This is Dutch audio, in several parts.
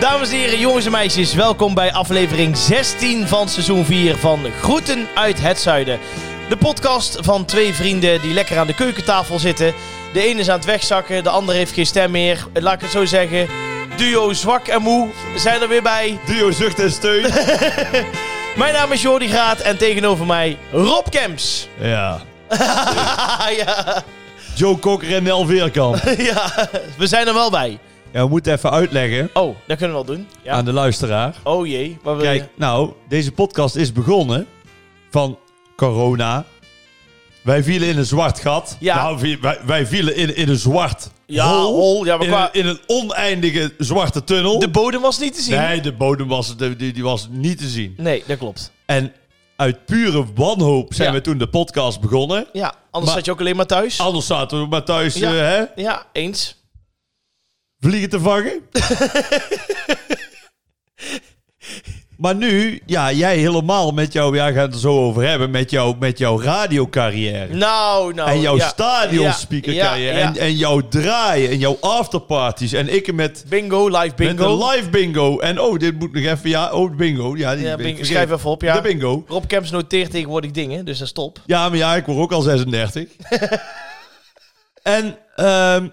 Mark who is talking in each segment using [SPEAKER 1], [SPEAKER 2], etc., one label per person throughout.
[SPEAKER 1] Dames en heren, jongens en meisjes, welkom bij aflevering 16 van seizoen 4 van Groeten uit het Zuiden. De podcast van twee vrienden die lekker aan de keukentafel zitten. De ene is aan het wegzakken, de ander heeft geen stem meer. Laat ik het zo zeggen, duo zwak en moe zijn er weer bij.
[SPEAKER 2] Duo zucht en steun.
[SPEAKER 1] Mijn naam is Jordi Graat en tegenover mij Rob Kemps.
[SPEAKER 2] ja.
[SPEAKER 1] ja,
[SPEAKER 2] Joe Cocker en Nel Veerkamp.
[SPEAKER 1] ja, we zijn er wel bij.
[SPEAKER 2] Ja, we moeten even uitleggen
[SPEAKER 1] Oh, dat kunnen we wel doen. Ja.
[SPEAKER 2] aan de luisteraar.
[SPEAKER 1] Oh jee, maar we...
[SPEAKER 2] Kijk, nou, deze podcast is begonnen van corona. Wij vielen in een zwart gat.
[SPEAKER 1] Ja.
[SPEAKER 2] Nou, vi- wij, wij vielen in, in een zwart
[SPEAKER 1] Ja,
[SPEAKER 2] hol.
[SPEAKER 1] hol. Ja, maar
[SPEAKER 2] in,
[SPEAKER 1] qua-
[SPEAKER 2] een, in een oneindige zwarte tunnel.
[SPEAKER 1] De bodem was niet te zien.
[SPEAKER 2] nee, de bodem was, de- die, die was niet te zien.
[SPEAKER 1] nee dat klopt.
[SPEAKER 2] En uit pure wanhoop zijn
[SPEAKER 1] Ja.
[SPEAKER 2] we toen de podcast begonnen.
[SPEAKER 1] Ja, anders
[SPEAKER 2] Maar-
[SPEAKER 1] zat je ook alleen maar thuis.
[SPEAKER 2] Anders zaten we maar thuis
[SPEAKER 1] Ja.
[SPEAKER 2] eh, hè,
[SPEAKER 1] Ja, eens.
[SPEAKER 2] vliegen te vangen. maar nu, ja, jij helemaal met jouw, ja, we gaan het er zo over hebben, met, jou, met jouw radiocarrière.
[SPEAKER 1] Nou, nou.
[SPEAKER 2] en jouw
[SPEAKER 1] ja.
[SPEAKER 2] stadionspeakercarrière.
[SPEAKER 1] Ja, ja.
[SPEAKER 2] En, eh, en jouw draaien en jouw afterparties. En ik met,
[SPEAKER 1] bingo, live
[SPEAKER 2] met
[SPEAKER 1] bingo.
[SPEAKER 2] een live bingo. En oh, dit moet nog even, ja, oh, bingo. Ja, die
[SPEAKER 1] Ja,
[SPEAKER 2] ben
[SPEAKER 1] bingo.
[SPEAKER 2] ik vergeten.
[SPEAKER 1] Schrijf even op, ja.
[SPEAKER 2] De bingo.
[SPEAKER 1] Rob Kemps noteert tegenwoordig dingen, dus dat is top.
[SPEAKER 2] Ja, maar ja, ik word ook al 36. en, ehm,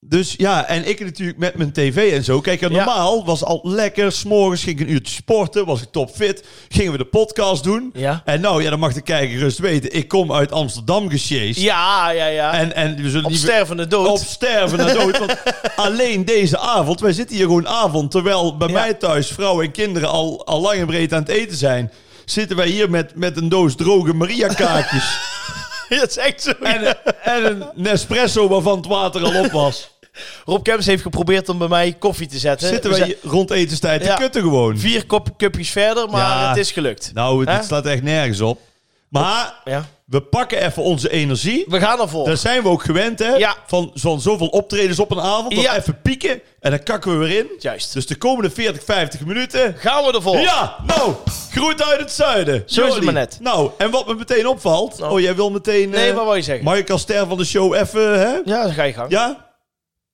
[SPEAKER 2] dus ja, en ik natuurlijk met mijn tv en zo. Kijk, en
[SPEAKER 1] Ja.
[SPEAKER 2] normaal was al lekker. S'morgens ging ik een uurtje sporten, was ik topfit. Gingen we de podcast doen.
[SPEAKER 1] Ja.
[SPEAKER 2] En nou, ja, dan mag de kijker rust weten. Ik kom uit Amsterdam gesjeest.
[SPEAKER 1] Ja, ja, ja.
[SPEAKER 2] En, en we zullen
[SPEAKER 1] Op
[SPEAKER 2] niet...
[SPEAKER 1] stervende dood.
[SPEAKER 2] Op sterven naar dood. Want alleen deze avond, wij zitten hier gewoon avond, terwijl bij
[SPEAKER 1] Ja.
[SPEAKER 2] mij thuis vrouwen en kinderen al, al lang en breed aan het eten zijn, zitten wij hier met, met een doos droge Maria-kaakjes.
[SPEAKER 1] dat is echt zo.
[SPEAKER 2] En, en een Nespresso waarvan het water al op was.
[SPEAKER 1] Rob Kemps heeft geprobeerd om bij mij koffie te zetten.
[SPEAKER 2] Zitten
[SPEAKER 1] We
[SPEAKER 2] wij
[SPEAKER 1] zijn
[SPEAKER 2] hier rond etenstijd te
[SPEAKER 1] Ja.
[SPEAKER 2] kutten gewoon.
[SPEAKER 1] Vier kop, cupjes verder, maar
[SPEAKER 2] Ja.
[SPEAKER 1] het is gelukt.
[SPEAKER 2] Nou,
[SPEAKER 1] Hè?
[SPEAKER 2] dit slaat echt nergens op. Maar
[SPEAKER 1] Ja.
[SPEAKER 2] we pakken even onze energie.
[SPEAKER 1] We gaan ervoor.
[SPEAKER 2] Daar zijn we ook gewend, hè?
[SPEAKER 1] Ja.
[SPEAKER 2] Van, van zoveel optredens op een avond. Dan
[SPEAKER 1] Ja.
[SPEAKER 2] even pieken en dan kakken we weer in.
[SPEAKER 1] Juist.
[SPEAKER 2] Dus de komende 40, 50 minuten.
[SPEAKER 1] Gaan we ervoor.
[SPEAKER 2] Ja, nou, groet uit het zuiden.
[SPEAKER 1] Zo is het
[SPEAKER 2] Jordi.
[SPEAKER 1] maar net.
[SPEAKER 2] Nou, en wat me meteen opvalt.
[SPEAKER 1] Nou.
[SPEAKER 2] Oh, jij wil meteen.
[SPEAKER 1] Nee,
[SPEAKER 2] eh,
[SPEAKER 1] wat wil je zeggen?
[SPEAKER 2] Mag ik als ster van de show even, hè?
[SPEAKER 1] Ja, dan ga je gang.
[SPEAKER 2] Ja?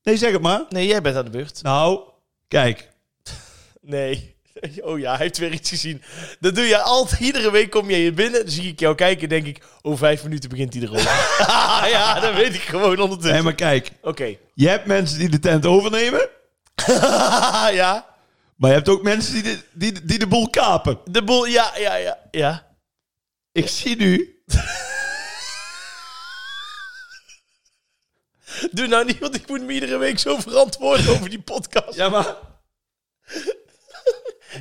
[SPEAKER 2] Nee, zeg het maar.
[SPEAKER 1] Nee, jij bent aan de beurt.
[SPEAKER 2] Nou, kijk.
[SPEAKER 1] Nee. Oh ja, hij heeft weer iets gezien. Dat doe je altijd. Iedere week kom je hier binnen. Dan zie ik jou kijken. Denk ik, over vijf minuten begint hij erop. ja, dat weet ik gewoon
[SPEAKER 2] Nee,
[SPEAKER 1] ondertussen.
[SPEAKER 2] maar kijk.
[SPEAKER 1] Oké.
[SPEAKER 2] Je hebt mensen die de tent overnemen.
[SPEAKER 1] Ah, ja.
[SPEAKER 2] Maar je hebt ook mensen die de, die, die de boel kapen.
[SPEAKER 1] De boel. Ja, ja, ja. Ja.
[SPEAKER 2] Ik zie nu.
[SPEAKER 1] Doe nou niet, want ik moet me iedere week zo verantwoorden over die podcast.
[SPEAKER 2] Ja, maar.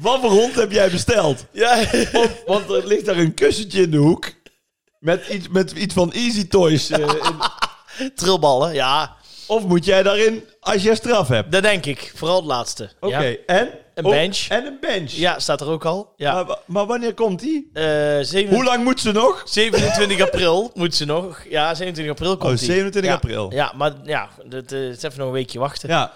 [SPEAKER 2] Wat voor hond heb jij besteld?
[SPEAKER 1] Ja.
[SPEAKER 2] Want er ligt daar een kussentje in de hoek. Met iets, met iets van Easy Toys. eh, in.
[SPEAKER 1] Trilballen. Ja.
[SPEAKER 2] Of moet jij daarin als jij straf hebt?
[SPEAKER 1] Dat denk ik. Vooral het laatste.
[SPEAKER 2] Oké,
[SPEAKER 1] Ja.
[SPEAKER 2] en?
[SPEAKER 1] Een
[SPEAKER 2] Oh,
[SPEAKER 1] bench.
[SPEAKER 2] En een bench.
[SPEAKER 1] Ja, staat er ook al. Ja.
[SPEAKER 2] Maar, wa- maar wanneer komt die?
[SPEAKER 1] Eh, zeven-
[SPEAKER 2] Ah. Hoe lang moet ze nog?
[SPEAKER 1] 27 april moet ze nog. Ja, 27 april komt
[SPEAKER 2] Oh,
[SPEAKER 1] die.
[SPEAKER 2] 27
[SPEAKER 1] Ja.
[SPEAKER 2] april.
[SPEAKER 1] Ja, maar ja, dat eh, het is even nog een weekje wachten.
[SPEAKER 2] Ja.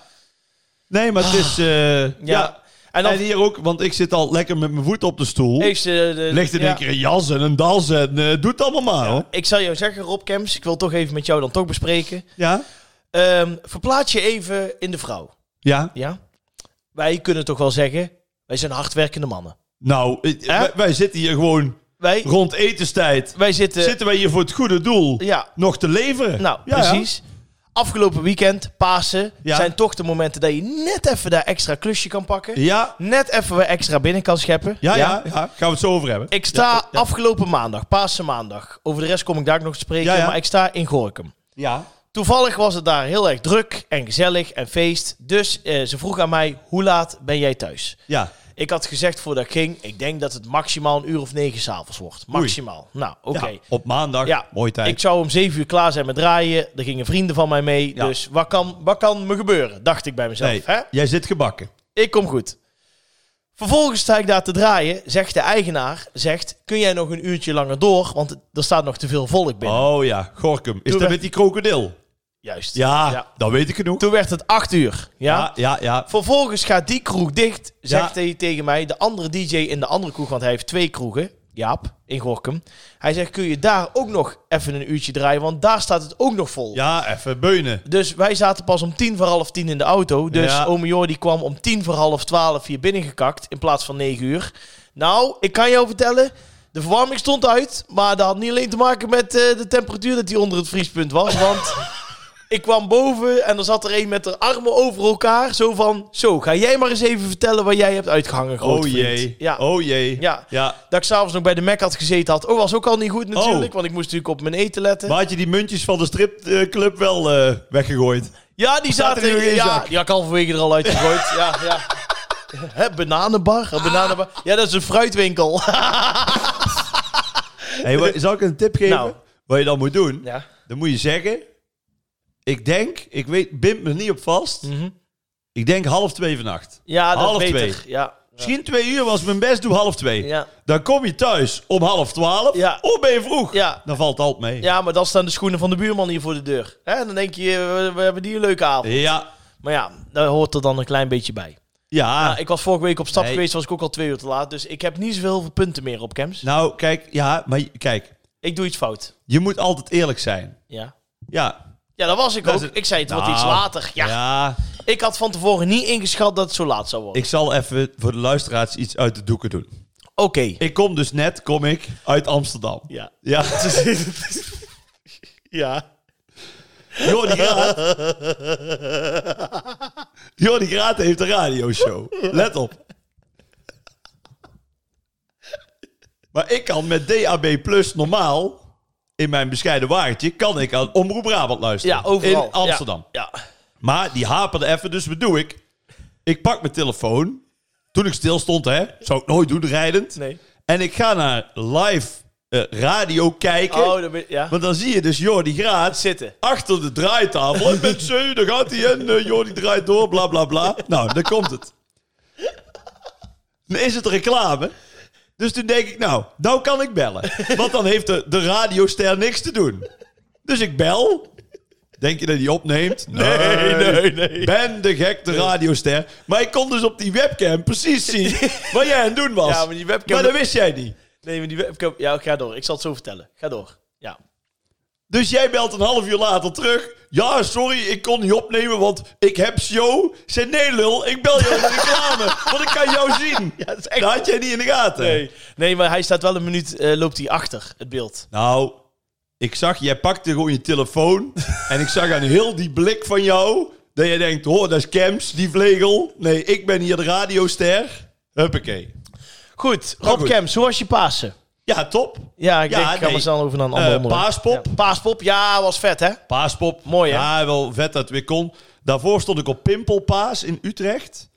[SPEAKER 2] Nee, maar het is... eh,
[SPEAKER 1] Ja.
[SPEAKER 2] ja.
[SPEAKER 1] En dan
[SPEAKER 2] En hier ook, want ik zit al lekker met mijn voet op de stoel.
[SPEAKER 1] heeft ze... De,
[SPEAKER 2] Ligt in
[SPEAKER 1] ja.
[SPEAKER 2] één keer een jas en een das en eh, doe het allemaal maar, hoor.
[SPEAKER 1] Ik zal jou zeggen, Rob Kemps, ik wil het toch even met jou dan toch bespreken.
[SPEAKER 2] Ja?
[SPEAKER 1] Ehm, verplaats je even in de vrouw,
[SPEAKER 2] Ja.
[SPEAKER 1] ja? Wij kunnen toch wel zeggen, wij zijn hardwerkende mannen.
[SPEAKER 2] Nou, eh, wij, wij zitten hier gewoon
[SPEAKER 1] Wij,
[SPEAKER 2] rond etenstijd.
[SPEAKER 1] wij zitten...
[SPEAKER 2] Zitten wij hier voor het goede doel
[SPEAKER 1] Ja,
[SPEAKER 2] nog te leveren?
[SPEAKER 1] nou,
[SPEAKER 2] Ja, ja.
[SPEAKER 1] precies. Afgelopen weekend, Pasen,
[SPEAKER 2] Ja.
[SPEAKER 1] zijn toch de momenten dat je net even daar extra klusje kan pakken.
[SPEAKER 2] Ja.
[SPEAKER 1] Net even weer extra binnen kan scheppen.
[SPEAKER 2] Ja, ja, ja. Gaan we het zo over hebben.
[SPEAKER 1] Ik sta afgelopen maandag, Pasen maandag. Over de rest kom ik daar ook nog te spreken,
[SPEAKER 2] Ja, ja.
[SPEAKER 1] maar ik sta in Gorkum.
[SPEAKER 2] Ja.
[SPEAKER 1] Toevallig was het daar heel erg druk en gezellig en feest. Dus eh, ze vroeg aan mij, hoe laat ben jij thuis?
[SPEAKER 2] Ja.
[SPEAKER 1] Ik had gezegd voordat ik ging, ik denk dat het maximaal een uur of negen s'avonds wordt. Maximaal. Nou, oké.
[SPEAKER 2] Ja, op maandag.
[SPEAKER 1] Ja.
[SPEAKER 2] Mooi tijd.
[SPEAKER 1] Ik zou om zeven uur klaar zijn met draaien. Er gingen vrienden van mij mee.
[SPEAKER 2] Ja.
[SPEAKER 1] Dus wat kan, wat kan me gebeuren, dacht ik bij mezelf.
[SPEAKER 2] Nee,
[SPEAKER 1] Hè?
[SPEAKER 2] jij zit gebakken.
[SPEAKER 1] Ik kom goed. Vervolgens sta ik daar te draaien. Zegt de eigenaar, zegt, kun jij nog een uurtje langer door? Want er staat nog te veel volk binnen.
[SPEAKER 2] Oh ja, Gorkum.
[SPEAKER 1] Toen
[SPEAKER 2] Is dat
[SPEAKER 1] werd-
[SPEAKER 2] met die krokodil?
[SPEAKER 1] Juist.
[SPEAKER 2] Ja,
[SPEAKER 1] Ja.
[SPEAKER 2] dat weet ik genoeg.
[SPEAKER 1] Toen werd het acht uur. ja.
[SPEAKER 2] Ja, ja, ja.
[SPEAKER 1] Vervolgens gaat die kroeg dicht, zegt
[SPEAKER 2] Ja.
[SPEAKER 1] hij tegen mij. De andere DJ in de andere kroeg, want hij heeft twee kroegen. Jaap, in Gorkum. Hij zegt, kun je daar ook nog even een uurtje draaien? Want daar staat het ook nog vol.
[SPEAKER 2] Ja, even beunen.
[SPEAKER 1] Dus wij zaten pas om tien voor half tien in de auto. Dus
[SPEAKER 2] Ja.
[SPEAKER 1] ome Jor die kwam om tien voor half twaalf hier binnengekakt in plaats van negen uur. Nou, ik kan jou vertellen, de verwarming stond uit. Maar dat had niet alleen te maken met eh, de temperatuur dat die onder het vriespunt was. Want ik kwam boven en er zat er een met de armen over elkaar. Zo van, zo, ga jij maar eens even vertellen wat jij hebt uitgehangen, grote
[SPEAKER 2] Oh
[SPEAKER 1] vriend."
[SPEAKER 2] jee.
[SPEAKER 1] Ja.
[SPEAKER 2] Oh jee.
[SPEAKER 1] Ja.
[SPEAKER 2] ja.
[SPEAKER 1] Dat ik s'avonds nog bij de Mac had gezeten had. Oh, was ook al niet goed natuurlijk,
[SPEAKER 2] Oh.
[SPEAKER 1] want ik moest natuurlijk op mijn eten letten.
[SPEAKER 2] Maar had je die muntjes van de stripclub wel eh, weggegooid?
[SPEAKER 1] Ja, die
[SPEAKER 2] Staat er
[SPEAKER 1] zaten
[SPEAKER 2] nu in je
[SPEAKER 1] ja,
[SPEAKER 2] zak?
[SPEAKER 1] die had ik halverwege er al uitgegooid. ja, ja. Hè, bananenbar, een bananenbar. Ja, dat is een fruitwinkel.
[SPEAKER 2] Hey, wa- zal ik een tip geven?
[SPEAKER 1] Nou.
[SPEAKER 2] Wat je dan moet doen,
[SPEAKER 1] ja.
[SPEAKER 2] dan moet je zeggen... Ik denk, ik weet, bind me er niet op vast.
[SPEAKER 1] Mhm.
[SPEAKER 2] Ik denk half twee vannacht.
[SPEAKER 1] ja, dat
[SPEAKER 2] Half
[SPEAKER 1] is beter.
[SPEAKER 2] twee.
[SPEAKER 1] Ja. Ja.
[SPEAKER 2] Misschien twee uur was mijn best, doe half twee.
[SPEAKER 1] Ja.
[SPEAKER 2] Dan kom je thuis om half twaalf.
[SPEAKER 1] Ja.
[SPEAKER 2] Of ben je vroeg?
[SPEAKER 1] Ja.
[SPEAKER 2] Dan valt altijd mee.
[SPEAKER 1] ja, maar dan staan de schoenen van de buurman hier voor de deur. Hè, dan denk je, eh, we, we hebben die een leuke avond.
[SPEAKER 2] Ja.
[SPEAKER 1] Maar ja, daar hoort er dan een klein beetje bij.
[SPEAKER 2] Ja.
[SPEAKER 1] Nou, ik was vorige week op stap
[SPEAKER 2] Nee.
[SPEAKER 1] geweest, was ik ook al twee uur te laat. Dus ik heb niet zoveel punten meer op camps.
[SPEAKER 2] Nou, kijk, ja, maar je- kijk,
[SPEAKER 1] Ik doe iets fout.
[SPEAKER 2] je moet altijd eerlijk zijn.
[SPEAKER 1] Ja.
[SPEAKER 2] Ja.
[SPEAKER 1] Ja, dat was ik
[SPEAKER 2] Dat
[SPEAKER 1] ook.
[SPEAKER 2] is het-
[SPEAKER 1] Ik zei het wordt
[SPEAKER 2] Nou,
[SPEAKER 1] iets later. Ja. Ik had van tevoren niet ingeschat dat het zo laat zou worden.
[SPEAKER 2] Ik zal even voor de luisteraars iets uit de doeken doen.
[SPEAKER 1] Oké.
[SPEAKER 2] Ik kom dus net, kom ik, uit Amsterdam.
[SPEAKER 1] Ja.
[SPEAKER 2] Ja.
[SPEAKER 1] Ja.
[SPEAKER 2] Jordi Graat. Jordi Graat heeft een radioshow. Let op. Maar ik kan met DAB Plus normaal, in mijn bescheiden wagentje, kan ik aan Omroep Brabant luisteren.
[SPEAKER 1] Ja, overal.
[SPEAKER 2] In Amsterdam.
[SPEAKER 1] Ja. ja.
[SPEAKER 2] Maar die haperde even, dus wat doe ik? Ik pak mijn telefoon. Toen ik stil stond, hè, zou ik nooit doen rijdend.
[SPEAKER 1] Nee.
[SPEAKER 2] En ik ga naar live eh, radio kijken.
[SPEAKER 1] Oh, dat ben, ja.
[SPEAKER 2] Want dan zie je dus Jordi Graat
[SPEAKER 1] Zitten.
[SPEAKER 2] achter de draaitafel. En met zee, daar gaat hij en eh, Jordi draait door, bla bla bla. Nou, daar komt het. Dan is het reclame. Dus toen denk ik, nou, nou kan ik bellen. Want dan heeft de, de radioster niks te doen. Dus ik bel. Denk je dat hij opneemt? Nee,
[SPEAKER 1] nee, nee.
[SPEAKER 2] Ben de gek, de radioster. Maar ik kon dus op die webcam precies zien wat jij aan het doen was.
[SPEAKER 1] Ja, maar die webcam-
[SPEAKER 2] Maar dat wist jij niet.
[SPEAKER 1] Nee, maar die webcam... Ja, ga door. Ik zal het zo vertellen. Ga door. Ja.
[SPEAKER 2] Dus jij belt een half uur later terug. Ja, sorry, ik kon niet opnemen, want ik heb show. Ik zei, nee lul, ik bel jou in de reclame, want ik kan jou zien.
[SPEAKER 1] dat is
[SPEAKER 2] Dat had jij niet in de gaten.
[SPEAKER 1] Nee. nee, maar hij staat wel een minuut... eh, loopt hij achter het beeld.
[SPEAKER 2] Nou, ik zag, jij pakte gewoon je telefoon. en ik zag aan heel die blik van jou, dat jij denkt, hoor, dat is Kems, die vlegel. Nee, ik ben hier de radioster. Huppakee.
[SPEAKER 1] Goed. Rob
[SPEAKER 2] Nou, goed.
[SPEAKER 1] Kems, hoe was je Pasen?
[SPEAKER 2] Ja, top.
[SPEAKER 1] Ja, ik
[SPEAKER 2] Ja,
[SPEAKER 1] denk, ik ga
[SPEAKER 2] nee.
[SPEAKER 1] maar snel over naar een
[SPEAKER 2] Eh,
[SPEAKER 1] ander onderwerp.
[SPEAKER 2] paaspop.
[SPEAKER 1] Ja. Paaspop, ja, was vet, hè?
[SPEAKER 2] Paaspop.
[SPEAKER 1] Mooi, hè?
[SPEAKER 2] Ja, wel vet dat het weer kon. Daarvoor stond ik op Pimpelpaas in Utrecht.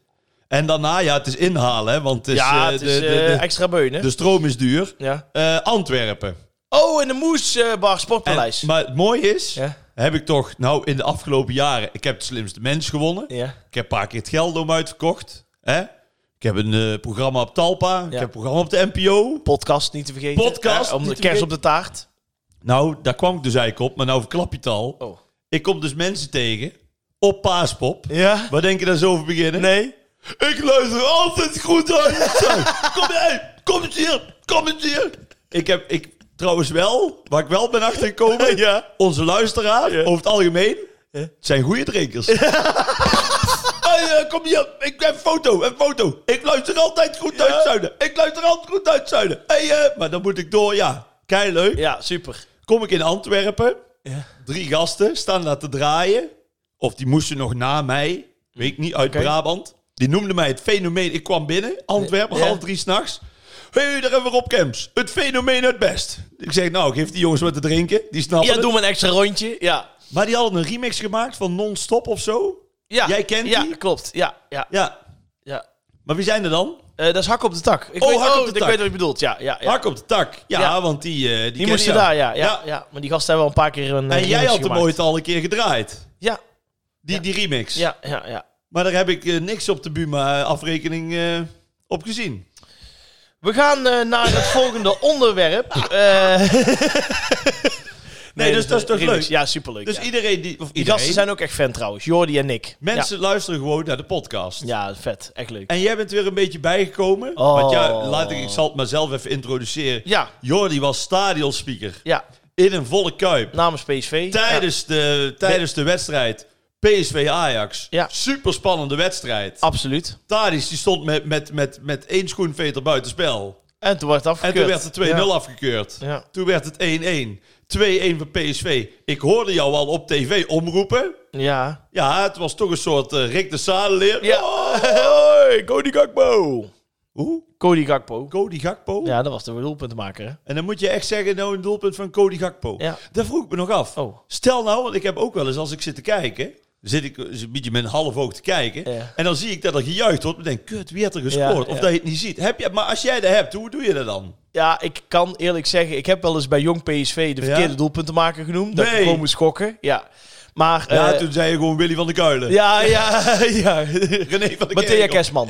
[SPEAKER 2] En daarna, ja, het is inhalen, hè, want het is,
[SPEAKER 1] ja,
[SPEAKER 2] eh,
[SPEAKER 1] het
[SPEAKER 2] de,
[SPEAKER 1] is
[SPEAKER 2] de,
[SPEAKER 1] eh,
[SPEAKER 2] de, dus-
[SPEAKER 1] extra beunen.
[SPEAKER 2] de stroom is duur.
[SPEAKER 1] ja.
[SPEAKER 2] Eh, Antwerpen.
[SPEAKER 1] Oh, en de Moes eh, Bar
[SPEAKER 2] En-
[SPEAKER 1] Sportpaleis.
[SPEAKER 2] maar het mooie is,
[SPEAKER 1] Ja.
[SPEAKER 2] heb ik toch, nou, in de afgelopen jaren, ik heb de slimste mens gewonnen.
[SPEAKER 1] ja.
[SPEAKER 2] Ik heb een paar keer het Geldoom uitverkocht. Hè? Ik heb een eh, programma op Talpa. Ik heb een programma op de NPO.
[SPEAKER 1] Podcast niet te vergeten.
[SPEAKER 2] Podcast
[SPEAKER 1] Eh, om
[SPEAKER 2] niet
[SPEAKER 1] de
[SPEAKER 2] te
[SPEAKER 1] kerst
[SPEAKER 2] vergeten.
[SPEAKER 1] op de taart.
[SPEAKER 2] Nou, daar kwam ik dus eigenlijk op, maar nou verklap je het al.
[SPEAKER 1] Oh.
[SPEAKER 2] Ik kom dus mensen tegen op Paaspop.
[SPEAKER 1] Ja?
[SPEAKER 2] Waar denk je dat ze over beginnen?
[SPEAKER 1] Nee.
[SPEAKER 2] Ik luister altijd goed aan je show. Kom jij, kom eens hier, kom eens hier. Ik heb, ik, trouwens wel, waar ik wel ben achtergekomen,
[SPEAKER 1] Ja.
[SPEAKER 2] onze luisteraar, over het algemeen, het zijn goede drinkers. Hey, eh, kom hier, ik heb een foto, een foto. Ik luister altijd goed uit het zuiden. Ik luister altijd goed uit het zuiden. Hey, eh, maar dan moet ik door, ja. Kei leuk.
[SPEAKER 1] Ja, super.
[SPEAKER 2] Kom ik in Antwerpen,
[SPEAKER 1] Ja.
[SPEAKER 2] drie gasten staan daar te draaien. Of die moesten nog na mij, weet ik niet, uit
[SPEAKER 1] Oké.
[SPEAKER 2] Brabant. Die noemden mij het fenomeen. Ik kwam binnen, Antwerpen,
[SPEAKER 1] Ja.
[SPEAKER 2] half drie s'nachts. Hé, hey, daar hebben we Rob Kemps. Het fenomeen het best. Ik zeg, nou, geef die jongens wat te drinken. Die snappen
[SPEAKER 1] Ja,
[SPEAKER 2] het.
[SPEAKER 1] doe maar een extra rondje. Ja.
[SPEAKER 2] Maar die hadden een remix gemaakt van Non-Stop of zo.
[SPEAKER 1] ja.
[SPEAKER 2] Jij kent
[SPEAKER 1] ja,
[SPEAKER 2] die?
[SPEAKER 1] klopt. Ja, ja,
[SPEAKER 2] Ja,
[SPEAKER 1] ja.
[SPEAKER 2] maar wie zijn er dan?
[SPEAKER 1] Eh, dat is hak op de tak. Ik
[SPEAKER 2] Oh,
[SPEAKER 1] weet,
[SPEAKER 2] hak op de
[SPEAKER 1] Ik
[SPEAKER 2] tak.
[SPEAKER 1] weet wat je bedoelt. Ja, ja, ja.
[SPEAKER 2] Hak op de tak. Ja,
[SPEAKER 1] Ja.
[SPEAKER 2] want die... eh, die
[SPEAKER 1] die
[SPEAKER 2] ken
[SPEAKER 1] moesten
[SPEAKER 2] je.
[SPEAKER 1] daar, ja ja, ja. Maar die gasten hebben al een paar keer een. eh,
[SPEAKER 2] En jij
[SPEAKER 1] remix
[SPEAKER 2] had hem
[SPEAKER 1] gemaakt.
[SPEAKER 2] ooit al een keer gedraaid.
[SPEAKER 1] Ja,
[SPEAKER 2] Die, die remix.
[SPEAKER 1] ja, ja, ja.
[SPEAKER 2] Maar daar heb ik eh, niks op de Buma-afrekening eh, op gezien.
[SPEAKER 1] We gaan eh, naar het volgende onderwerp. Eh,
[SPEAKER 2] Nee, dus dat is toch
[SPEAKER 1] remix.
[SPEAKER 2] leuk?
[SPEAKER 1] Ja, superleuk.
[SPEAKER 2] Dus
[SPEAKER 1] ja.
[SPEAKER 2] iedereen die... Of
[SPEAKER 1] Die
[SPEAKER 2] iedereen,
[SPEAKER 1] gasten zijn ook echt fan trouwens, Jordi en Nick.
[SPEAKER 2] Mensen luisteren gewoon naar de podcast.
[SPEAKER 1] Ja, ja vet. Echt leuk.
[SPEAKER 2] En jij bent weer een beetje bijgekomen.
[SPEAKER 1] Oh.
[SPEAKER 2] Want ja, laat ik, ik zal het mezelf even introduceren.
[SPEAKER 1] Ja,
[SPEAKER 2] Jordi was stadionspeaker
[SPEAKER 1] ja.
[SPEAKER 2] in een volle kuip.
[SPEAKER 1] Namens PSV.
[SPEAKER 2] Tijdens, de, tijdens de wedstrijd PSV Ajax.
[SPEAKER 1] Ja.
[SPEAKER 2] Super spannende wedstrijd.
[SPEAKER 1] Ja, absoluut.
[SPEAKER 2] Tadis die stond met, met, met, met één schoenveter buitenspel.
[SPEAKER 1] En toen werd het
[SPEAKER 2] En
[SPEAKER 1] afgekeurd.
[SPEAKER 2] toen werd het 2-0
[SPEAKER 1] Ja.
[SPEAKER 2] afgekeurd.
[SPEAKER 1] Ja.
[SPEAKER 2] Toen werd het 1-1. 2-1 voor PSV. Ik hoorde jou al op tv omroepen.
[SPEAKER 1] Ja.
[SPEAKER 2] Ja, het was toch een soort eh, Rick de Sadeleer.
[SPEAKER 1] ja. Hoi, Cody Gakpo.
[SPEAKER 2] Hoe?
[SPEAKER 1] Cody Gakpo.
[SPEAKER 2] Cody Gakpo?
[SPEAKER 1] Ja, dat was de doelpuntmaker, hè?
[SPEAKER 2] En dan moet je echt zeggen, nou een doelpunt van Cody Gakpo.
[SPEAKER 1] Ja.
[SPEAKER 2] Dat vroeg ik me nog af.
[SPEAKER 1] Oh.
[SPEAKER 2] Stel nou, want ik heb ook wel eens, als ik zit te kijken, zit ik eh, een beetje met een half oog te kijken.
[SPEAKER 1] Ja.
[SPEAKER 2] En dan zie ik dat er gejuicht wordt. Ik denk, kut, wie heeft er gescoord?
[SPEAKER 1] Ja,
[SPEAKER 2] Of
[SPEAKER 1] ja.
[SPEAKER 2] dat je het niet ziet. Heb je, maar als jij dat hebt, hoe doe je dat dan?
[SPEAKER 1] Ja, ik kan eerlijk zeggen, ik heb wel eens bij Jong PSV de verkeerde
[SPEAKER 2] Ja?
[SPEAKER 1] doelpuntenmaker genoemd. Dat ik
[SPEAKER 2] Nee.
[SPEAKER 1] gewoon moest schokken. Ja. Maar...
[SPEAKER 2] ja,
[SPEAKER 1] eh,
[SPEAKER 2] toen zei je gewoon Willy van de Kuilen.
[SPEAKER 1] ja, ja, ja.
[SPEAKER 2] René van de
[SPEAKER 1] Matthea
[SPEAKER 2] Kerkhoff.
[SPEAKER 1] Kerstman.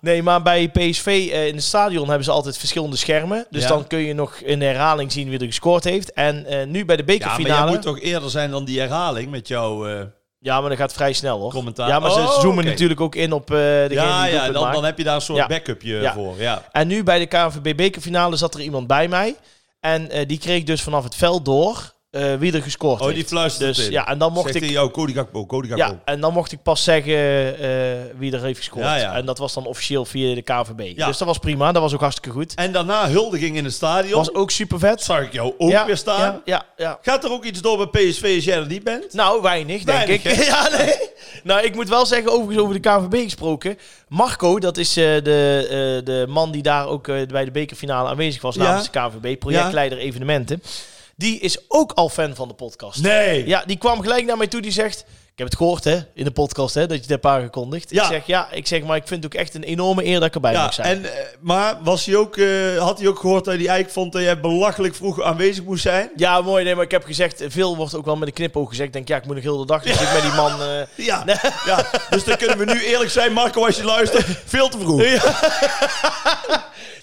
[SPEAKER 1] Nee, maar bij PSV eh, in het stadion hebben ze altijd verschillende schermen. Dus
[SPEAKER 2] Ja.
[SPEAKER 1] dan kun je nog in de herhaling zien wie er gescoord heeft. En eh, nu bij de
[SPEAKER 2] Ja,
[SPEAKER 1] bekerfinale...
[SPEAKER 2] maar jij moet toch eerder zijn dan die herhaling met jouw... eh,
[SPEAKER 1] Ja, maar dat gaat vrij snel hoor.
[SPEAKER 2] Commentaar.
[SPEAKER 1] Ja, maar ze
[SPEAKER 2] Oh,
[SPEAKER 1] zoomen
[SPEAKER 2] oké.
[SPEAKER 1] natuurlijk ook in op eh degene
[SPEAKER 2] ja,
[SPEAKER 1] die het
[SPEAKER 2] ja
[SPEAKER 1] doelpunt
[SPEAKER 2] dan,
[SPEAKER 1] maakt.
[SPEAKER 2] dan heb je daar een soort
[SPEAKER 1] Ja.
[SPEAKER 2] backupje
[SPEAKER 1] Ja.
[SPEAKER 2] voor. Ja.
[SPEAKER 1] En nu bij de KNVB bekerfinale zat er iemand bij mij. En eh, die kreeg dus vanaf het veld door eh, wie er gescoord
[SPEAKER 2] Oh, die
[SPEAKER 1] heeft.
[SPEAKER 2] fluistert
[SPEAKER 1] Dus
[SPEAKER 2] in.
[SPEAKER 1] ja, en dan mocht
[SPEAKER 2] Zegt
[SPEAKER 1] ik...
[SPEAKER 2] hij jou Cody Gakpo, Cody Gakpo.
[SPEAKER 1] Ja, en dan mocht ik pas zeggen eh, wie er heeft gescoord.
[SPEAKER 2] Ja, ja.
[SPEAKER 1] En dat was dan officieel via de KNVB.
[SPEAKER 2] Ja.
[SPEAKER 1] Dus dat was prima, dat was ook hartstikke goed.
[SPEAKER 2] En daarna huldiging in het stadion.
[SPEAKER 1] was ook super vet.
[SPEAKER 2] zag ik jou ook
[SPEAKER 1] ja,
[SPEAKER 2] weer staan.
[SPEAKER 1] Ja, ja, ja.
[SPEAKER 2] Gaat er ook iets door bij PSV als jij er niet bent?
[SPEAKER 1] Nou, weinig, denk
[SPEAKER 2] Weinig,
[SPEAKER 1] ik. ja, nee. Nou, ik moet wel zeggen, overigens over de KVB gesproken. Marco, dat is eh, de, eh, de man die daar ook eh, bij de bekerfinale aanwezig was
[SPEAKER 2] Ja.
[SPEAKER 1] namens de KVB, projectleider evenementen. Die is ook al fan van de podcast.
[SPEAKER 2] Nee.
[SPEAKER 1] Ja, die kwam gelijk naar mij toe, die zegt... Ik heb het gehoord hè, in de podcast hè, dat je het hebt aangekondigd.
[SPEAKER 2] Ja.
[SPEAKER 1] Ik zeg, ja, ik zeg, maar ik vind het ook echt een enorme eer dat ik erbij mag
[SPEAKER 2] Ja,
[SPEAKER 1] zijn.
[SPEAKER 2] en, eh, maar was hij ook, eh, had hij ook gehoord dat hij eigenlijk vond dat jij belachelijk vroeg aanwezig moest zijn?
[SPEAKER 1] Ja, mooi. Nee, maar ik heb gezegd, veel wordt ook wel met een knipoog gezegd. Ik denk, ja, ik moet nog heel de dag dus ik met die man... eh,
[SPEAKER 2] Ja, ja. dus dan kunnen we nu eerlijk zijn, Marco, als je luistert, veel te vroeg.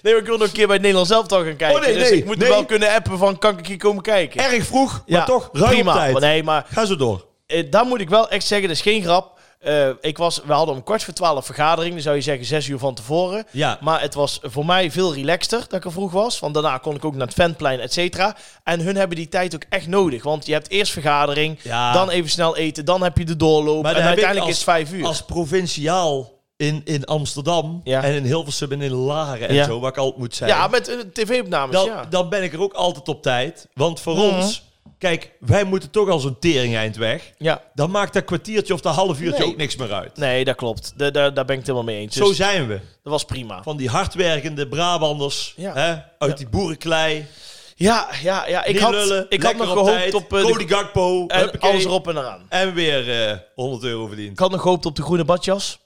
[SPEAKER 1] Nee, maar ik wil nog een keer bij het Nederlands elftal gaan kijken.
[SPEAKER 2] Oh, nee,
[SPEAKER 1] dus
[SPEAKER 2] nee,
[SPEAKER 1] ik moet
[SPEAKER 2] nee.
[SPEAKER 1] wel kunnen appen van, kan ik hier komen kijken?
[SPEAKER 2] Erg vroeg, maar
[SPEAKER 1] Ja,
[SPEAKER 2] toch ruim
[SPEAKER 1] prima.
[SPEAKER 2] op tijd.
[SPEAKER 1] Maar Nee, maar
[SPEAKER 2] Ga zo door.
[SPEAKER 1] eh, daar moet ik wel echt zeggen, dat is geen grap. Eh, ik was, we hadden om kwart voor twaalf vergadering, dan zou je zeggen zes uur van tevoren.
[SPEAKER 2] Ja.
[SPEAKER 1] Maar het was voor mij veel relaxter dat ik er vroeg was. Want daarna kon ik ook naar het fanplein, et cetera. En hun hebben die tijd ook echt nodig. Want je hebt eerst vergadering,
[SPEAKER 2] Ja.
[SPEAKER 1] dan even snel eten, dan heb je de doorloop.
[SPEAKER 2] Maar
[SPEAKER 1] en
[SPEAKER 2] dan heb ik
[SPEAKER 1] uiteindelijk
[SPEAKER 2] als-
[SPEAKER 1] is het vijf uur.
[SPEAKER 2] Als provinciaal in, in Amsterdam
[SPEAKER 1] Ja.
[SPEAKER 2] en in Hilversum en in Laren en
[SPEAKER 1] Ja.
[SPEAKER 2] zo, waar ik altijd moet zijn.
[SPEAKER 1] ja, met eh, tv-opnames,
[SPEAKER 2] dan,
[SPEAKER 1] ja.
[SPEAKER 2] dan ben ik er ook altijd op tijd. Want voor
[SPEAKER 1] Mhm.
[SPEAKER 2] ons, kijk, wij moeten toch al zo'n tering eind weg.
[SPEAKER 1] ja.
[SPEAKER 2] Dan maakt dat kwartiertje of dat half uurtje
[SPEAKER 1] Nee.
[SPEAKER 2] ook niks meer uit.
[SPEAKER 1] Nee, dat klopt. Da- da- daar ben ik het helemaal mee eens. Dus
[SPEAKER 2] Zo zijn we.
[SPEAKER 1] dat was prima.
[SPEAKER 2] Van die hardwerkende Brabanders.
[SPEAKER 1] Ja.
[SPEAKER 2] Hè? Uit
[SPEAKER 1] Ja.
[SPEAKER 2] die boerenklei.
[SPEAKER 1] Ja, ja, ja. Ik
[SPEAKER 2] niet
[SPEAKER 1] had,
[SPEAKER 2] lullen,
[SPEAKER 1] ik had
[SPEAKER 2] lekker
[SPEAKER 1] nog
[SPEAKER 2] op tijd,
[SPEAKER 1] gehoopt op, eh, de-
[SPEAKER 2] Cody Gakpo.
[SPEAKER 1] en
[SPEAKER 2] huppakee.
[SPEAKER 1] alles erop en eraan.
[SPEAKER 2] En weer eh, 100 euro verdiend.
[SPEAKER 1] Ik had nog gehoopt op de groene badjas.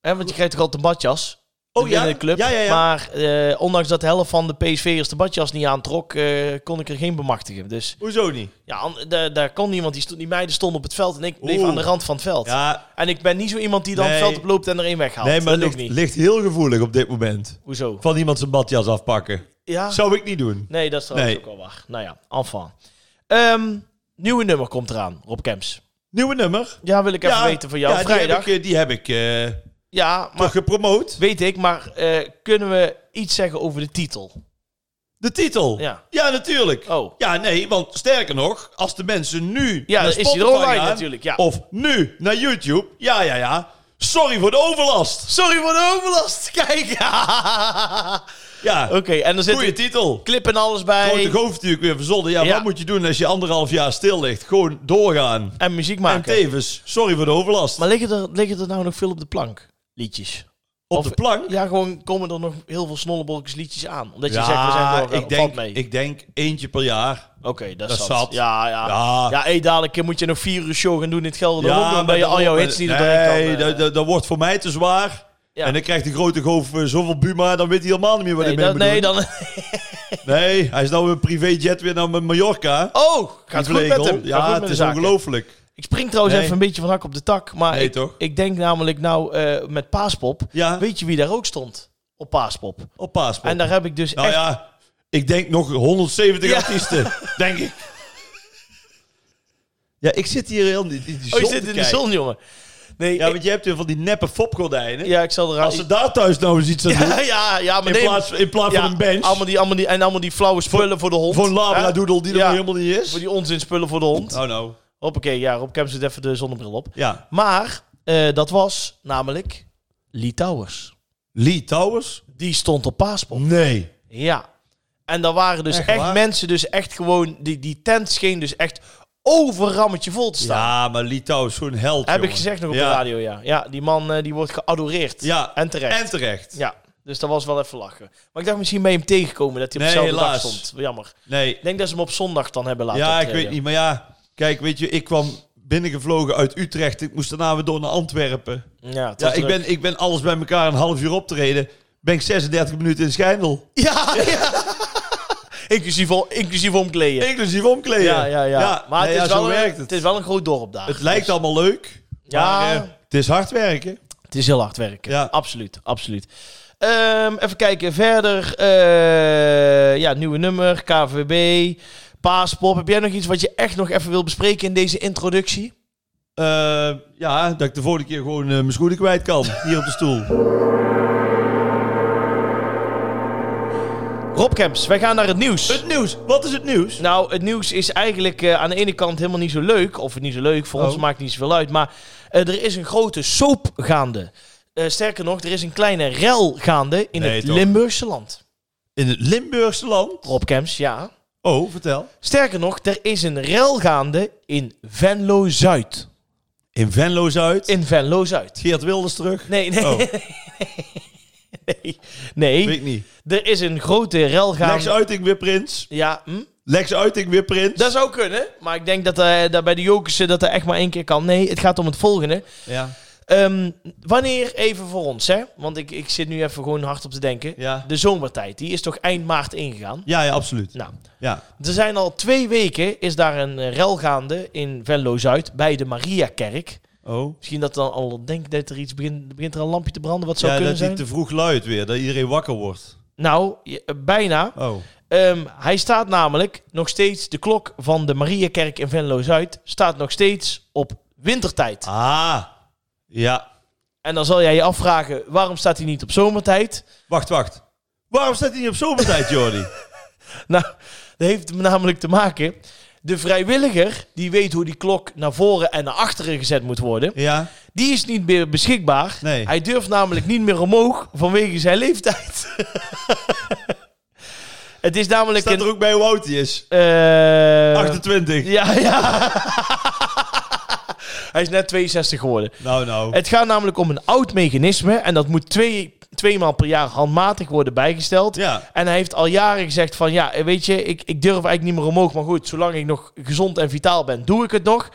[SPEAKER 1] Hè, want je krijgt toch altijd een badjas
[SPEAKER 2] Oh ja?
[SPEAKER 1] binnen de club.
[SPEAKER 2] Ja, ja, ja.
[SPEAKER 1] Maar eh, ondanks dat de helft van de PSV'ers de badjas niet aantrok, eh, kon ik er geen bemachtigen. Dus
[SPEAKER 2] Hoezo niet?
[SPEAKER 1] ja, an- daar- daar kon niemand. Die, stond, die meiden stonden op het veld en ik bleef
[SPEAKER 2] Oeh.
[SPEAKER 1] aan de rand van het veld.
[SPEAKER 2] Ja,
[SPEAKER 1] En ik ben niet zo iemand die dan
[SPEAKER 2] Nee.
[SPEAKER 1] het veld oploopt en er één weghaalt.
[SPEAKER 2] nee, maar
[SPEAKER 1] nou, dat lukt
[SPEAKER 2] ligt,
[SPEAKER 1] niet.
[SPEAKER 2] ligt heel gevoelig op dit moment.
[SPEAKER 1] Hoezo?
[SPEAKER 2] Van iemand zijn badjas afpakken.
[SPEAKER 1] Ja?
[SPEAKER 2] Zou ik niet doen.
[SPEAKER 1] Nee, dat is trouwens
[SPEAKER 2] Nee.
[SPEAKER 1] ook wel waar. Nou ja, enfin. Ehm, nieuwe nummer komt eraan, Rob Kemps.
[SPEAKER 2] Nieuwe nummer.
[SPEAKER 1] Ja, wil ik even
[SPEAKER 2] Ja,
[SPEAKER 1] weten van jou.
[SPEAKER 2] ja, die
[SPEAKER 1] Vrijdag.
[SPEAKER 2] heb ik, eh, Die heb ik, eh,
[SPEAKER 1] Ja, maar
[SPEAKER 2] toch gepromoot.
[SPEAKER 1] weet ik, maar eh, kunnen we iets zeggen over de titel?
[SPEAKER 2] De titel.
[SPEAKER 1] Ja.
[SPEAKER 2] natuurlijk.
[SPEAKER 1] Oh.
[SPEAKER 2] Ja, nee, want sterker nog, als de mensen nu
[SPEAKER 1] Ja,
[SPEAKER 2] naar
[SPEAKER 1] dan is
[SPEAKER 2] Spotify
[SPEAKER 1] hij er online
[SPEAKER 2] gaan,
[SPEAKER 1] natuurlijk, ja.
[SPEAKER 2] of nu naar YouTube, ja, ja, ja, sorry voor de overlast.
[SPEAKER 1] Sorry voor de overlast, kijk.
[SPEAKER 2] Ja,
[SPEAKER 1] Oké, en er zit
[SPEAKER 2] goede
[SPEAKER 1] een
[SPEAKER 2] titel.
[SPEAKER 1] clip en alles
[SPEAKER 2] Grote
[SPEAKER 1] bij.
[SPEAKER 2] Goof natuurlijk weer verzonnen. Ja,
[SPEAKER 1] Ja.
[SPEAKER 2] wat moet je doen als je anderhalf jaar stil ligt? Gewoon doorgaan.
[SPEAKER 1] En muziek
[SPEAKER 2] En
[SPEAKER 1] maken.
[SPEAKER 2] tevens, sorry voor de overlast.
[SPEAKER 1] Maar liggen er, liggen er nou nog veel op de plank, liedjes?
[SPEAKER 2] Op
[SPEAKER 1] of-
[SPEAKER 2] de plank?
[SPEAKER 1] Ja, gewoon komen er nog heel veel snollebolkjes liedjes aan. Omdat je
[SPEAKER 2] Ja,
[SPEAKER 1] zegt, we zijn doorgaan,
[SPEAKER 2] ik,
[SPEAKER 1] valt
[SPEAKER 2] denk,
[SPEAKER 1] mee.
[SPEAKER 2] ik denk eentje per jaar.
[SPEAKER 1] Oké, dat
[SPEAKER 2] dat
[SPEAKER 1] is
[SPEAKER 2] is
[SPEAKER 1] zat.
[SPEAKER 2] zat.
[SPEAKER 1] Ja, ja.
[SPEAKER 2] Ja.
[SPEAKER 1] Ah, Ja, hey, dadelijk moet je nog vier uur show gaan doen in het Gelderland. Ja, dan
[SPEAKER 2] maar
[SPEAKER 1] ben je
[SPEAKER 2] dat
[SPEAKER 1] al jouw
[SPEAKER 2] wordt-
[SPEAKER 1] hits niet
[SPEAKER 2] Nee,
[SPEAKER 1] erbij kan, eh.
[SPEAKER 2] dat, dat, dat wordt voor mij te zwaar.
[SPEAKER 1] Ja.
[SPEAKER 2] En dan krijgt de grote goof eh, zoveel Buma, dan weet hij helemaal niet meer wat
[SPEAKER 1] Nee,
[SPEAKER 2] ik mee
[SPEAKER 1] dat-
[SPEAKER 2] moet doen.
[SPEAKER 1] nee, dan...
[SPEAKER 2] Nee, hij is nou een privéjet weer naar Mallorca.
[SPEAKER 1] Oh, gaat
[SPEAKER 2] Die
[SPEAKER 1] goed met
[SPEAKER 2] vlegel.
[SPEAKER 1] hem. Gaat goed
[SPEAKER 2] Ja,
[SPEAKER 1] met
[SPEAKER 2] het
[SPEAKER 1] de
[SPEAKER 2] is
[SPEAKER 1] zaken.
[SPEAKER 2] ongelooflijk.
[SPEAKER 1] Ik spring trouwens
[SPEAKER 2] Nee.
[SPEAKER 1] even een beetje van hak op de tak. Maar
[SPEAKER 2] Nee,
[SPEAKER 1] ik,
[SPEAKER 2] toch?
[SPEAKER 1] ik denk namelijk nou eh, met Paaspop.
[SPEAKER 2] Ja,
[SPEAKER 1] Weet je wie daar ook stond? Op Paaspop.
[SPEAKER 2] op paaspop.
[SPEAKER 1] En daar heb ik dus
[SPEAKER 2] nou
[SPEAKER 1] echt...
[SPEAKER 2] ja, ik denk nog 170
[SPEAKER 1] Ja.
[SPEAKER 2] artiesten, denk ik. Ja, ik zit hier heel niet in die
[SPEAKER 1] Oh,
[SPEAKER 2] zon
[SPEAKER 1] je
[SPEAKER 2] te
[SPEAKER 1] zit in de
[SPEAKER 2] kijken.
[SPEAKER 1] zon, jongen. Nee,
[SPEAKER 2] Ja,
[SPEAKER 1] ik-
[SPEAKER 2] want je hebt weer van die neppe fopgordijnen.
[SPEAKER 1] ja, ik zal eraan...
[SPEAKER 2] Als ze daar thuis nou eens iets aan doen,
[SPEAKER 1] Ja, ja, ja, maar
[SPEAKER 2] in
[SPEAKER 1] nee,
[SPEAKER 2] plaats, in plaats
[SPEAKER 1] ja,
[SPEAKER 2] van een bench,
[SPEAKER 1] Allemaal die, allemaal die, en allemaal die flauwe spullen voor, de hond.
[SPEAKER 2] voor een labradoedel die er
[SPEAKER 1] Ja.
[SPEAKER 2] nog helemaal niet
[SPEAKER 1] Voor
[SPEAKER 2] is.
[SPEAKER 1] die onzin spullen voor de hond.
[SPEAKER 2] Oh nou.
[SPEAKER 1] Hoppakee, ja, Rob Kemp zet even de zonnebril op.
[SPEAKER 2] Ja.
[SPEAKER 1] Maar eh, dat was namelijk Litouwers.
[SPEAKER 2] Lee Towers?
[SPEAKER 1] Die stond op paaspop.
[SPEAKER 2] Nee.
[SPEAKER 1] Ja. En daar waren dus
[SPEAKER 2] Echt
[SPEAKER 1] echt,
[SPEAKER 2] waar?
[SPEAKER 1] mensen, dus echt gewoon... Die, die tent scheen dus echt overrammetje vol te staan.
[SPEAKER 2] Ja, maar Lee Towers, zo'n held,
[SPEAKER 1] Heb ik
[SPEAKER 2] jongen.
[SPEAKER 1] gezegd nog op
[SPEAKER 2] Ja.
[SPEAKER 1] de radio, ja. Ja, die man eh, die wordt geadoreerd.
[SPEAKER 2] Ja,
[SPEAKER 1] En terecht.
[SPEAKER 2] en terecht.
[SPEAKER 1] Ja, dus dat was wel even lachen. Maar ik dacht misschien mee hem tegenkomen dat hij op
[SPEAKER 2] Nee,
[SPEAKER 1] dezelfde dag
[SPEAKER 2] helaas.
[SPEAKER 1] stond. Jammer.
[SPEAKER 2] Nee,
[SPEAKER 1] Ik denk dat ze hem op zondag dan hebben laten
[SPEAKER 2] ja, ik
[SPEAKER 1] optreden.
[SPEAKER 2] weet niet. Maar ja, kijk, weet je, ik kwam binnengevlogen uit Utrecht. Ik moest daarna weer door naar Antwerpen.
[SPEAKER 1] Ja, het
[SPEAKER 2] Ja,
[SPEAKER 1] was
[SPEAKER 2] ik
[SPEAKER 1] druk.
[SPEAKER 2] ben, ik ben alles bij elkaar een half uur optreden. Ben ik 36 minuten in Schijndel.
[SPEAKER 1] Ja, ja. inclusief, o- inclusief omkleden.
[SPEAKER 2] Inclusief omkleden.
[SPEAKER 1] ja, ja, ja. Maar
[SPEAKER 2] nee,
[SPEAKER 1] het, is
[SPEAKER 2] ja, zo
[SPEAKER 1] wel een,
[SPEAKER 2] werkt
[SPEAKER 1] het.
[SPEAKER 2] het.
[SPEAKER 1] is wel een groot dorp daar.
[SPEAKER 2] Het lijkt allemaal leuk.
[SPEAKER 1] Ja.
[SPEAKER 2] Maar, eh, het is hard werken.
[SPEAKER 1] Het is heel hard werken.
[SPEAKER 2] Ja.
[SPEAKER 1] Absoluut, absoluut. Ehm, even kijken verder. Eh, ja, nieuwe nummer, KVB, Paaspop. Heb jij nog iets wat je echt nog even wil bespreken in deze introductie?
[SPEAKER 2] Eh, ja, dat ik de volgende keer gewoon eh, mijn schoenen kwijt kan. Hier op de stoel.
[SPEAKER 1] Rob Kemps, wij gaan naar het nieuws.
[SPEAKER 2] Het nieuws. Wat is het nieuws?
[SPEAKER 1] Nou, het nieuws is eigenlijk eh, aan de ene kant helemaal niet zo leuk. Of niet zo leuk, voor ons
[SPEAKER 2] Oh.
[SPEAKER 1] maakt het niet zoveel uit. Maar eh, er is een grote soap gaande. Eh, sterker nog, er is een kleine rel gaande in
[SPEAKER 2] Nee,
[SPEAKER 1] het
[SPEAKER 2] toch?
[SPEAKER 1] Limburgse land.
[SPEAKER 2] In het Limburgse land.
[SPEAKER 1] Rob Kemps, ja.
[SPEAKER 2] Oh, vertel.
[SPEAKER 1] Sterker nog, er is een rel gaande in Venlo-Zuid.
[SPEAKER 2] In Venlo Zuid.
[SPEAKER 1] In Venlo-Zuid.
[SPEAKER 2] Geert Wilders terug.
[SPEAKER 1] Nee, nee,
[SPEAKER 2] Oh,
[SPEAKER 1] nee. Nee,
[SPEAKER 2] weet ik niet.
[SPEAKER 1] er is een grote rel
[SPEAKER 2] Lex
[SPEAKER 1] gaande...
[SPEAKER 2] Uiting weer prins.
[SPEAKER 1] Ja, hm?
[SPEAKER 2] Lex Uiting weer prins.
[SPEAKER 1] dat zou kunnen. Maar ik denk dat, eh, dat bij de Jokersen dat er echt maar één keer kan. Nee, het gaat om het volgende.
[SPEAKER 2] Ja.
[SPEAKER 1] Ehm, wanneer, even voor ons, hè? Want ik, ik zit nu even gewoon hard op te denken.
[SPEAKER 2] Ja.
[SPEAKER 1] De zomertijd, die is toch eind maart ingegaan?
[SPEAKER 2] Ja, ja, absoluut.
[SPEAKER 1] Nou,
[SPEAKER 2] Ja.
[SPEAKER 1] er zijn al twee weken is daar een eh, rel gaande in Venlo-Zuid bij de Mariakerk.
[SPEAKER 2] Oh.
[SPEAKER 1] Misschien dat dan al denk dat er iets begint, begint er al een lampje te branden, wat zou
[SPEAKER 2] ja, dat
[SPEAKER 1] kunnen zijn.
[SPEAKER 2] hij te vroeg luidt weer. Dat iedereen wakker wordt.
[SPEAKER 1] Nou, je- eh, bijna.
[SPEAKER 2] Oh.
[SPEAKER 1] Ehm, hij staat namelijk nog steeds, de klok van de Mariakerk in Venlo-Zuid staat nog steeds op wintertijd.
[SPEAKER 2] Ah. Ja.
[SPEAKER 1] En dan zal jij je afvragen, waarom staat hij niet op zomertijd?
[SPEAKER 2] Wacht, wacht. Waarom staat hij niet op zomertijd, Jordi?
[SPEAKER 1] Nou, dat heeft namelijk te maken. De vrijwilliger, die weet hoe die klok naar voren en naar achteren gezet moet worden,
[SPEAKER 2] ja.
[SPEAKER 1] die is niet meer beschikbaar.
[SPEAKER 2] Nee.
[SPEAKER 1] Hij durft namelijk niet meer omhoog vanwege zijn leeftijd. Het is namelijk
[SPEAKER 2] Staat
[SPEAKER 1] een.
[SPEAKER 2] er ook bij hoe oud hij is.
[SPEAKER 1] eh,
[SPEAKER 2] 28.
[SPEAKER 1] Ja, ja. Hij is net 62 geworden.
[SPEAKER 2] Nou, nou.
[SPEAKER 1] Het gaat namelijk om een oud mechanisme en dat moet twee, twee maal per jaar handmatig worden bijgesteld.
[SPEAKER 2] Ja.
[SPEAKER 1] En hij heeft al jaren gezegd van ja, eh, weet je, ik, ik durf eigenlijk niet meer omhoog. Maar goed, zolang ik nog gezond en vitaal ben, doe ik het nog.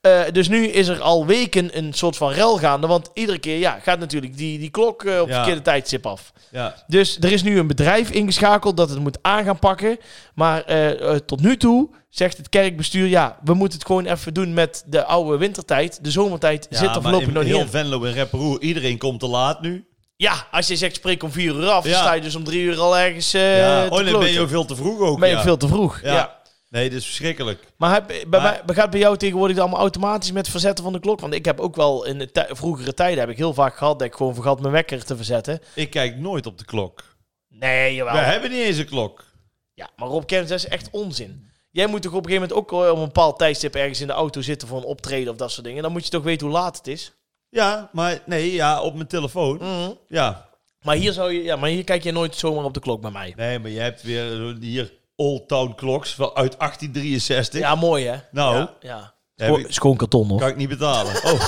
[SPEAKER 1] Eh, dus nu is er al weken een soort van rel gaande. Want iedere keer ja, gaat natuurlijk die, die klok eh, op
[SPEAKER 2] Ja.
[SPEAKER 1] het verkeerde tijdstip af.
[SPEAKER 2] ja.
[SPEAKER 1] Dus er is nu een bedrijf ingeschakeld dat het moet aan gaan pakken. Maar eh, eh, tot nu toe zegt het kerkbestuur... ja, we moeten het gewoon even doen met de oude wintertijd. De zomertijd
[SPEAKER 2] Ja,
[SPEAKER 1] zit er
[SPEAKER 2] maar
[SPEAKER 1] voorlopig
[SPEAKER 2] in
[SPEAKER 1] nog niet
[SPEAKER 2] heel
[SPEAKER 1] in.
[SPEAKER 2] Venlo en Rapperoe, iedereen komt te laat nu.
[SPEAKER 1] Ja, als je zegt spreek om vier uur af...
[SPEAKER 2] Ja.
[SPEAKER 1] dan sta je dus om drie uur al ergens eh
[SPEAKER 2] ja.
[SPEAKER 1] te
[SPEAKER 2] Oh, nee, ben je
[SPEAKER 1] kloten.
[SPEAKER 2] ook veel te vroeg ook.
[SPEAKER 1] Ben je
[SPEAKER 2] ja.
[SPEAKER 1] veel te vroeg.
[SPEAKER 2] Ja.
[SPEAKER 1] ja.
[SPEAKER 2] Nee, dit is verschrikkelijk.
[SPEAKER 1] Maar heb, bij
[SPEAKER 2] Maar-
[SPEAKER 1] mij- gaat bij jou tegenwoordig allemaal automatisch met verzetten van de klok? Want ik heb ook wel in de tij- vroegere tijden heb ik heel vaak gehad dat ik gewoon vergat mijn wekker te verzetten.
[SPEAKER 2] Ik kijk nooit op de klok.
[SPEAKER 1] Nee, jawel.
[SPEAKER 2] We hebben niet eens een klok.
[SPEAKER 1] Ja, maar Rob Kemps, dat is echt onzin. Jij moet toch op een gegeven moment ook eh, op een bepaald tijdstip ergens in de auto zitten voor een optreden of dat soort dingen. Dan moet je toch weten hoe laat het is.
[SPEAKER 2] Ja, maar nee, ja, op mijn telefoon. Ja.
[SPEAKER 1] Maar hier zou je, ja, maar hier kijk je nooit zomaar op de klok bij mij.
[SPEAKER 2] Nee, maar je hebt weer eh, hier Old Town Clocks van uit 1863.
[SPEAKER 1] Ja, mooi hè?
[SPEAKER 2] Nou.
[SPEAKER 1] Ja, ja.
[SPEAKER 2] Heb
[SPEAKER 1] Scho-
[SPEAKER 2] ik-
[SPEAKER 1] schoon karton hoor.
[SPEAKER 2] Kan ik niet betalen. Oh.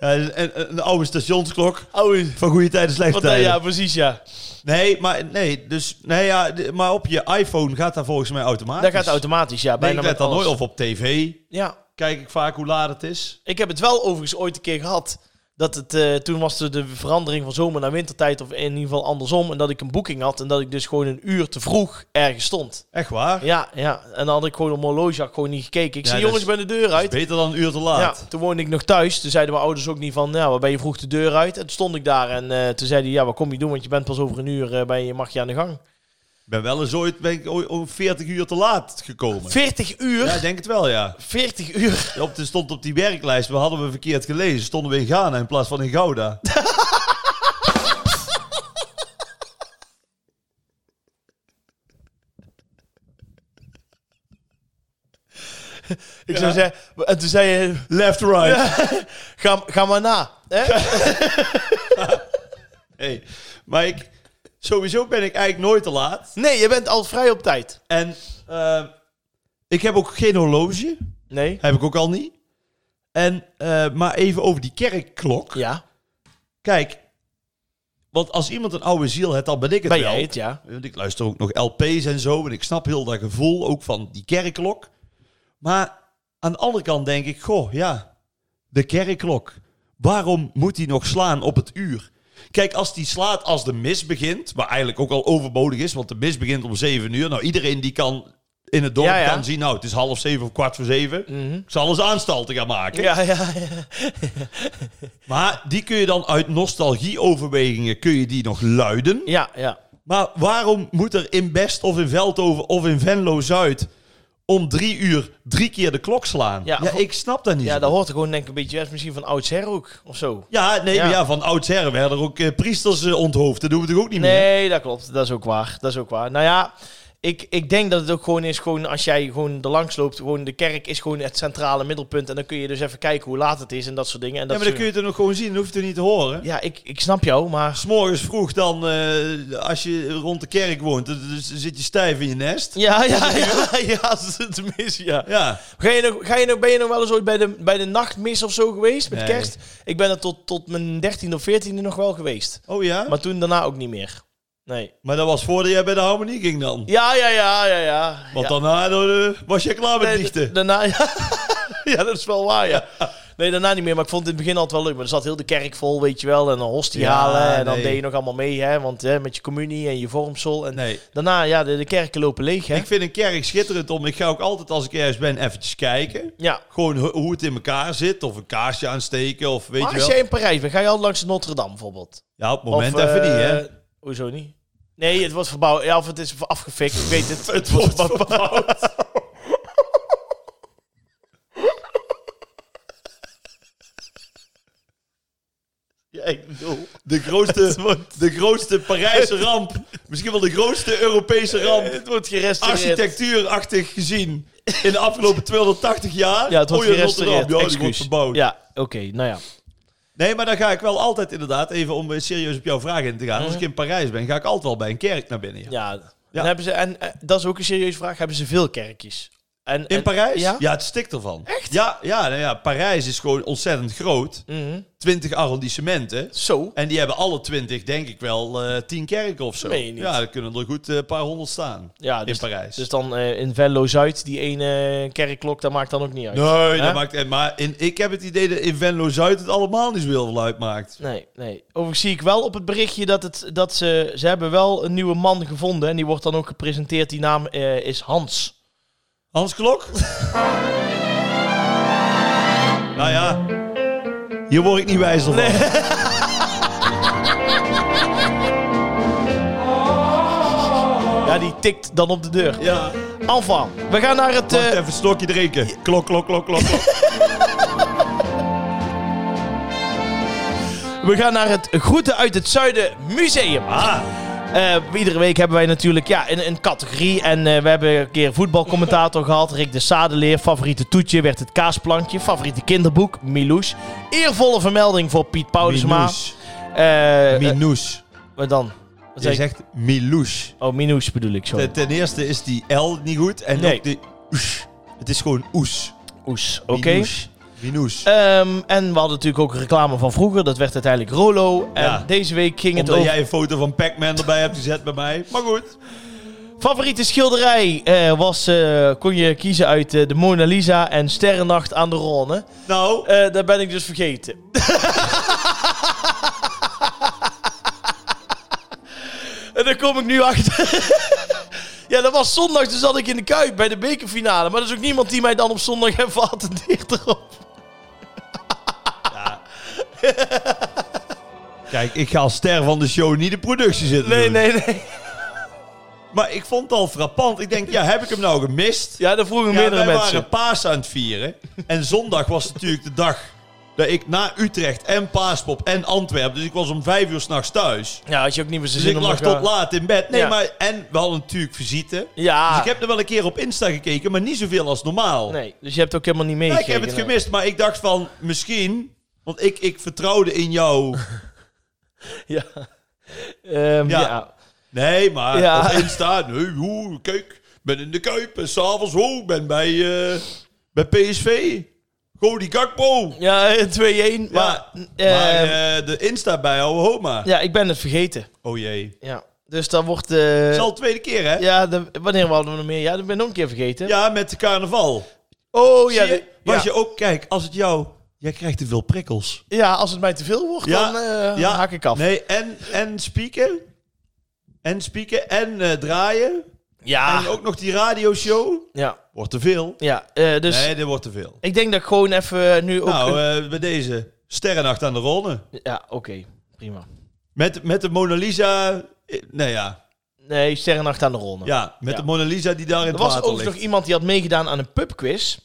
[SPEAKER 2] Ja, een, een oude stationsklok
[SPEAKER 1] Oei.
[SPEAKER 2] van goede tijden, slechte
[SPEAKER 1] Want, eh,
[SPEAKER 2] tijden.
[SPEAKER 1] ja, precies ja.
[SPEAKER 2] Nee, maar, nee, dus, nee ja, d- maar op je iPhone gaat dat volgens mij automatisch.
[SPEAKER 1] Dat gaat automatisch, ja.
[SPEAKER 2] Nee,
[SPEAKER 1] Bijna
[SPEAKER 2] ik let
[SPEAKER 1] met
[SPEAKER 2] dan
[SPEAKER 1] alles.
[SPEAKER 2] nooit of op tv.
[SPEAKER 1] Ja,
[SPEAKER 2] Kijk ik vaak hoe laat het is.
[SPEAKER 1] Ik heb het wel overigens ooit een keer gehad. Dat het, eh, toen was er de verandering van zomer naar wintertijd, of in ieder geval andersom. En dat ik een boeking had en dat ik dus gewoon een uur te vroeg ergens stond.
[SPEAKER 2] Echt waar?
[SPEAKER 1] Ja, ja. En dan had ik gewoon op mijn horloge had ik gewoon niet gekeken. Ik
[SPEAKER 2] Ja,
[SPEAKER 1] zie
[SPEAKER 2] dat
[SPEAKER 1] jongens,
[SPEAKER 2] is-
[SPEAKER 1] bij de deur
[SPEAKER 2] Dat is
[SPEAKER 1] uit.
[SPEAKER 2] beter dan een uur te
[SPEAKER 1] Ja,
[SPEAKER 2] laat.
[SPEAKER 1] toen woonde ik nog thuis. Toen zeiden mijn ouders ook niet van, nou, waar ben je vroeg de deur uit? En toen stond ik daar en eh, toen zeiden die, ja, wat kom je doen? Want je bent pas over een uur, eh, ben je, mag je aan de gang.
[SPEAKER 2] ben wel eens ooit, ben ik ooit om 40 uur te laat gekomen.
[SPEAKER 1] 40 uur?
[SPEAKER 2] Ja, ik denk het wel, ja.
[SPEAKER 1] 40 uur.
[SPEAKER 2] Op de, stond op die werklijst, we hadden we verkeerd gelezen. Stonden we in Ghana in plaats van in Gouda.
[SPEAKER 1] Ik zou zeggen, en toen zei je,
[SPEAKER 2] Left, right.
[SPEAKER 1] ga, ga maar na. Hè?
[SPEAKER 2] Hey, maar ik, sowieso ben ik eigenlijk nooit te laat.
[SPEAKER 1] Nee, je bent al vrij op tijd.
[SPEAKER 2] En eh, ik heb ook geen horloge.
[SPEAKER 1] Nee?
[SPEAKER 2] Heb ik ook al niet. En, eh, maar even over die kerkklok.
[SPEAKER 1] Ja.
[SPEAKER 2] Kijk, want als iemand een oude ziel heeft, dan ben ik het
[SPEAKER 1] Ben
[SPEAKER 2] wel.
[SPEAKER 1] jij het, ja.
[SPEAKER 2] Want ik luister ook nog LP's en zo. En ik snap heel dat gevoel ook van die kerkklok. Maar aan de andere kant denk ik, goh, ja, de kerkklok. Waarom moet die nog slaan op het uur? Kijk, als die slaat als de mis begint, maar eigenlijk ook al overbodig is, want de mis begint om 7 uur. Nou, iedereen die kan in het dorp
[SPEAKER 1] Ja, ja.
[SPEAKER 2] kan zien, nou, het is half zeven of kwart voor zeven. Ik zal eens aanstalten gaan maken.
[SPEAKER 1] Ja, ja, Mhm. ja.
[SPEAKER 2] Maar die kun je dan uit nostalgieoverwegingen kun je die nog luiden.
[SPEAKER 1] Ja, ja.
[SPEAKER 2] Maar waarom moet er in Best of in Veldhoven of in Venlo Zuid om drie uur drie keer de klok slaan?
[SPEAKER 1] Ja,
[SPEAKER 2] Ja,
[SPEAKER 1] voor-
[SPEAKER 2] ik snap dat niet.
[SPEAKER 1] Ja,
[SPEAKER 2] zo.
[SPEAKER 1] dat hoort Mhm. er gewoon denk ik een beetje. Dat is misschien van oudsher ook, of zo.
[SPEAKER 2] ja nee,
[SPEAKER 1] Ja.
[SPEAKER 2] maar ja, van oudsher werden er ook eh, priesters eh, onthoofd. Dat doen we toch ook niet meer?
[SPEAKER 1] Nee, dat klopt. Dat is ook waar. Dat is ook waar. Nou ja, ik, ik denk dat het ook gewoon is, gewoon als jij gewoon er langs loopt, gewoon de kerk is gewoon het centrale middelpunt. En dan kun je dus even kijken hoe laat het is en dat soort dingen. En
[SPEAKER 2] Ja,
[SPEAKER 1] dat
[SPEAKER 2] maar dan kun
[SPEAKER 1] soort-
[SPEAKER 2] je het nog gewoon zien. Dan hoef je het niet te horen.
[SPEAKER 1] ja ik, ik snap jou, maar...
[SPEAKER 2] S'morgens vroeg dan, eh, als je rond de kerk woont, dan dan zit je stijf in je nest.
[SPEAKER 1] Ja, ja, ja, ja, het mis, ja.
[SPEAKER 2] Ja,
[SPEAKER 1] Ga je nog, ga je nog, ben je nog wel eens ooit bij de, bij de nachtmis of zo geweest, met
[SPEAKER 2] Nee.
[SPEAKER 1] kerst? Ik ben er tot, tot mijn dertiende of veertiende nog wel geweest.
[SPEAKER 2] oh ja. Maar,
[SPEAKER 1] Maar toen daarna ook niet meer. Nee.
[SPEAKER 2] dat was voordat jij bij de harmonie ging dan.
[SPEAKER 1] Ja, ja, ja, ja, ja.
[SPEAKER 2] Want
[SPEAKER 1] ja.
[SPEAKER 2] daarna eh, was je klaar met
[SPEAKER 1] Nee,
[SPEAKER 2] dichten.
[SPEAKER 1] d- daarna, ja. ja, dat is wel waar, ja. Nee, daarna niet meer. Maar ik vond het in het begin altijd wel leuk. Maar er zat heel de kerk vol, weet je wel. En dan hostie
[SPEAKER 2] Ja,
[SPEAKER 1] halen. En dan
[SPEAKER 2] nee.
[SPEAKER 1] deed je nog allemaal mee, hè. Want hè, met je communie en je vormsel. En
[SPEAKER 2] Nee.
[SPEAKER 1] daarna, ja, de, de kerken lopen leeg, hè.
[SPEAKER 2] Ik vind een kerk schitterend om. Ik ga ook altijd als ik ergens ben eventjes kijken.
[SPEAKER 1] Ja.
[SPEAKER 2] Gewoon ho- hoe het in elkaar zit. Of een kaarsje aansteken. Of weet
[SPEAKER 1] Maar
[SPEAKER 2] je
[SPEAKER 1] als
[SPEAKER 2] wel.
[SPEAKER 1] jij in Parijs bent, ga je altijd langs Notre Dame, bijvoorbeeld.
[SPEAKER 2] Ja, op het moment
[SPEAKER 1] Of,
[SPEAKER 2] even
[SPEAKER 1] eh,
[SPEAKER 2] niet, hè.
[SPEAKER 1] Hoezo niet? Nee, het wordt verbouwd. Ja, of het is afgefikt. Ik weet het.
[SPEAKER 2] Het wordt verbouwd.
[SPEAKER 1] Ja, ik bedoel.
[SPEAKER 2] De grootste, de grootste Parijse ramp. Misschien wel de grootste Europese ramp.
[SPEAKER 1] Eh, Het wordt gerestaureerd.
[SPEAKER 2] Architectuurachtig gezien. In de afgelopen 280 jaar.
[SPEAKER 1] Ja, het wordt
[SPEAKER 2] Oh, ja, Rotterdam.
[SPEAKER 1] gerestaureerd.
[SPEAKER 2] Ja, die
[SPEAKER 1] Excuus.
[SPEAKER 2] wordt verbouwd.
[SPEAKER 1] Ja, oké. nou ja.
[SPEAKER 2] Nee, maar dan ga ik wel altijd inderdaad, even om eh, serieus op jouw vraag in te gaan. Als ik in Parijs ben, ga ik altijd wel bij een kerk naar binnen. ja.
[SPEAKER 1] Ja. Dan hebben ze, en eh, dat is ook een serieuze vraag. Hebben ze veel kerkjes? En,
[SPEAKER 2] In
[SPEAKER 1] en-
[SPEAKER 2] Parijs?
[SPEAKER 1] Ja.
[SPEAKER 2] het stikt ervan. Echt? Ja, ja, nou ja, Parijs is gewoon ontzettend groot.
[SPEAKER 1] Mhm.
[SPEAKER 2] 20 arrondissementen.
[SPEAKER 1] Zo.
[SPEAKER 2] En die hebben alle 20, denk ik wel, eh 10 kerken of zo.
[SPEAKER 1] Meen je niet?
[SPEAKER 2] Ja, er kunnen er goed eh, een paar honderd staan
[SPEAKER 1] Ja, dus,
[SPEAKER 2] in Parijs.
[SPEAKER 1] dus dan eh, in Venlo Zuid, die ene eh, kerkklok, dat maakt dan ook niet uit.
[SPEAKER 2] nee,
[SPEAKER 1] Hè?
[SPEAKER 2] dat maakt echt. Maar in, ik heb het idee dat in Venlo-Zuid het allemaal niet zoveel uitmaakt.
[SPEAKER 1] Nee, nee. Overigens zie ik wel op het berichtje dat, het, dat ze... Ze hebben wel een nieuwe man gevonden. En die wordt dan ook gepresenteerd. Die naam eh, is Hans.
[SPEAKER 2] Hans Klok? nou ja, hier word ik niet wijzer van.
[SPEAKER 1] Ja, die tikt dan op de deur.
[SPEAKER 2] Ja,
[SPEAKER 1] Enfin, we gaan naar het...
[SPEAKER 2] wacht
[SPEAKER 1] eh,
[SPEAKER 2] even, een slokje drinken. Klok, klok, klok, klok. klok.
[SPEAKER 1] we gaan naar het Groeten uit het Zuiden Museum.
[SPEAKER 2] ah.
[SPEAKER 1] Eh, iedere week hebben wij natuurlijk ja, een, een categorie. En eh, we hebben een keer voetbalcommentator gehad. Rick de Sadeleer. Favoriete toetje werd het kaasplankje. Favoriete kinderboek, Miloes. Eervolle vermelding voor Piet Paulusma.
[SPEAKER 2] Minous.
[SPEAKER 1] Eh, eh,
[SPEAKER 2] Minous.
[SPEAKER 1] wat dan? Wat
[SPEAKER 2] Je
[SPEAKER 1] zeg ik?
[SPEAKER 2] zegt Milouche.
[SPEAKER 1] Oh, Minous bedoel ik, sorry.
[SPEAKER 2] Ten, ten eerste is die L niet goed en
[SPEAKER 1] Nee.
[SPEAKER 2] ook de oes. Het is gewoon oes.
[SPEAKER 1] Oes, oké.
[SPEAKER 2] Minous. Minous.
[SPEAKER 1] Ehm, en we hadden natuurlijk ook reclame van vroeger. Dat werd uiteindelijk Rolo. En
[SPEAKER 2] Ja.
[SPEAKER 1] deze week ging het
[SPEAKER 2] Omdat
[SPEAKER 1] over...
[SPEAKER 2] jij een foto van Pac-Man erbij hebt gezet bij mij. Maar goed.
[SPEAKER 1] Favoriete schilderij eh, was, eh, kon je kiezen uit eh, de Mona Lisa en Sterrennacht aan de Rhône.
[SPEAKER 2] Nou,
[SPEAKER 1] Eh dat ben ik dus vergeten. en daar kom ik nu achter. ja, dat was zondag, toen zat ik in de Kuip bij de bekerfinale. Maar er is ook niemand die mij dan op zondag even attendeert erop.
[SPEAKER 2] kijk, ik ga als ster van de show niet de productie zitten
[SPEAKER 1] Nee,
[SPEAKER 2] doen.
[SPEAKER 1] nee, nee.
[SPEAKER 2] Maar ik vond het al frappant. Ik denk, ja, heb ik hem nou gemist?
[SPEAKER 1] Ja, dat vroegen
[SPEAKER 2] Ja,
[SPEAKER 1] meerdere
[SPEAKER 2] wij
[SPEAKER 1] mensen.
[SPEAKER 2] waren paas aan het vieren. En zondag was natuurlijk de dag dat ik na Utrecht en paaspop en Antwerpen... Dus ik was om vijf uur s'nachts thuis.
[SPEAKER 1] Ja, had je ook niet meer zo
[SPEAKER 2] Dus
[SPEAKER 1] zin
[SPEAKER 2] ik
[SPEAKER 1] om
[SPEAKER 2] lag
[SPEAKER 1] nog, eh,
[SPEAKER 2] tot laat in bed. Nee,
[SPEAKER 1] Ja.
[SPEAKER 2] maar... En we hadden natuurlijk visite.
[SPEAKER 1] Ja.
[SPEAKER 2] Dus ik heb er wel een keer op Insta gekeken, maar niet zoveel als normaal.
[SPEAKER 1] Ah. Nee, dus je hebt ook helemaal niet
[SPEAKER 2] Ja, ik
[SPEAKER 1] meegekregen.
[SPEAKER 2] heb het gemist, maar ik dacht van, misschien... Want ik, ik vertrouwde in jou.
[SPEAKER 1] nee. Ja. Ehm, ja.
[SPEAKER 2] Ja. Nee, maar
[SPEAKER 1] Ja.
[SPEAKER 2] op Insta, nee, oeh, kijk, ik ben in de Kuip en s'avonds, oh, ik ben bij, eh, bij PSV. Go die Gakpo.
[SPEAKER 1] Ja, eh, 2-1.
[SPEAKER 2] Ja,
[SPEAKER 1] Maar,
[SPEAKER 2] maar,
[SPEAKER 1] ehm,
[SPEAKER 2] eh, de Insta bij ouwe Homa.
[SPEAKER 1] ja, ik ben het vergeten.
[SPEAKER 2] Oh jee.
[SPEAKER 1] Ja. Dus dan wordt... eh,
[SPEAKER 2] Het is al de tweede keer, hè? Ja,
[SPEAKER 1] Ja, de- wanneer hadden we nog meer? Ja, dat ben ik nog een keer vergeten.
[SPEAKER 2] met de carnaval.
[SPEAKER 1] Oh ja,
[SPEAKER 2] Zie je?
[SPEAKER 1] de-
[SPEAKER 2] Was
[SPEAKER 1] ja.
[SPEAKER 2] je ook, kijk, als het jou... Jij krijgt te veel prikkels.
[SPEAKER 1] ja, als het mij te veel wordt,
[SPEAKER 2] Ja,
[SPEAKER 1] dan eh,
[SPEAKER 2] ja.
[SPEAKER 1] haak ik af.
[SPEAKER 2] Nee, en, en spieken. En spieken en eh, draaien.
[SPEAKER 1] Ja,
[SPEAKER 2] En ook nog die radioshow.
[SPEAKER 1] ja,
[SPEAKER 2] Wordt te veel.
[SPEAKER 1] ja. eh, dus
[SPEAKER 2] Nee, dit wordt te veel.
[SPEAKER 1] ik denk dat ik gewoon even nu ook...
[SPEAKER 2] Nou,
[SPEAKER 1] een-
[SPEAKER 2] eh, bij deze Sterrennacht aan de Ronde.
[SPEAKER 1] Ja, oké. Prima.
[SPEAKER 2] Met, met de Mona Lisa. eh, Nee, ja.
[SPEAKER 1] Nee, Sterrennacht aan de ronde.
[SPEAKER 2] Ja, met
[SPEAKER 1] Ja.
[SPEAKER 2] de Mona Lisa die daar in
[SPEAKER 1] Er
[SPEAKER 2] het
[SPEAKER 1] was
[SPEAKER 2] water
[SPEAKER 1] ook nog
[SPEAKER 2] ligt.
[SPEAKER 1] iemand die had meegedaan aan een pubquiz.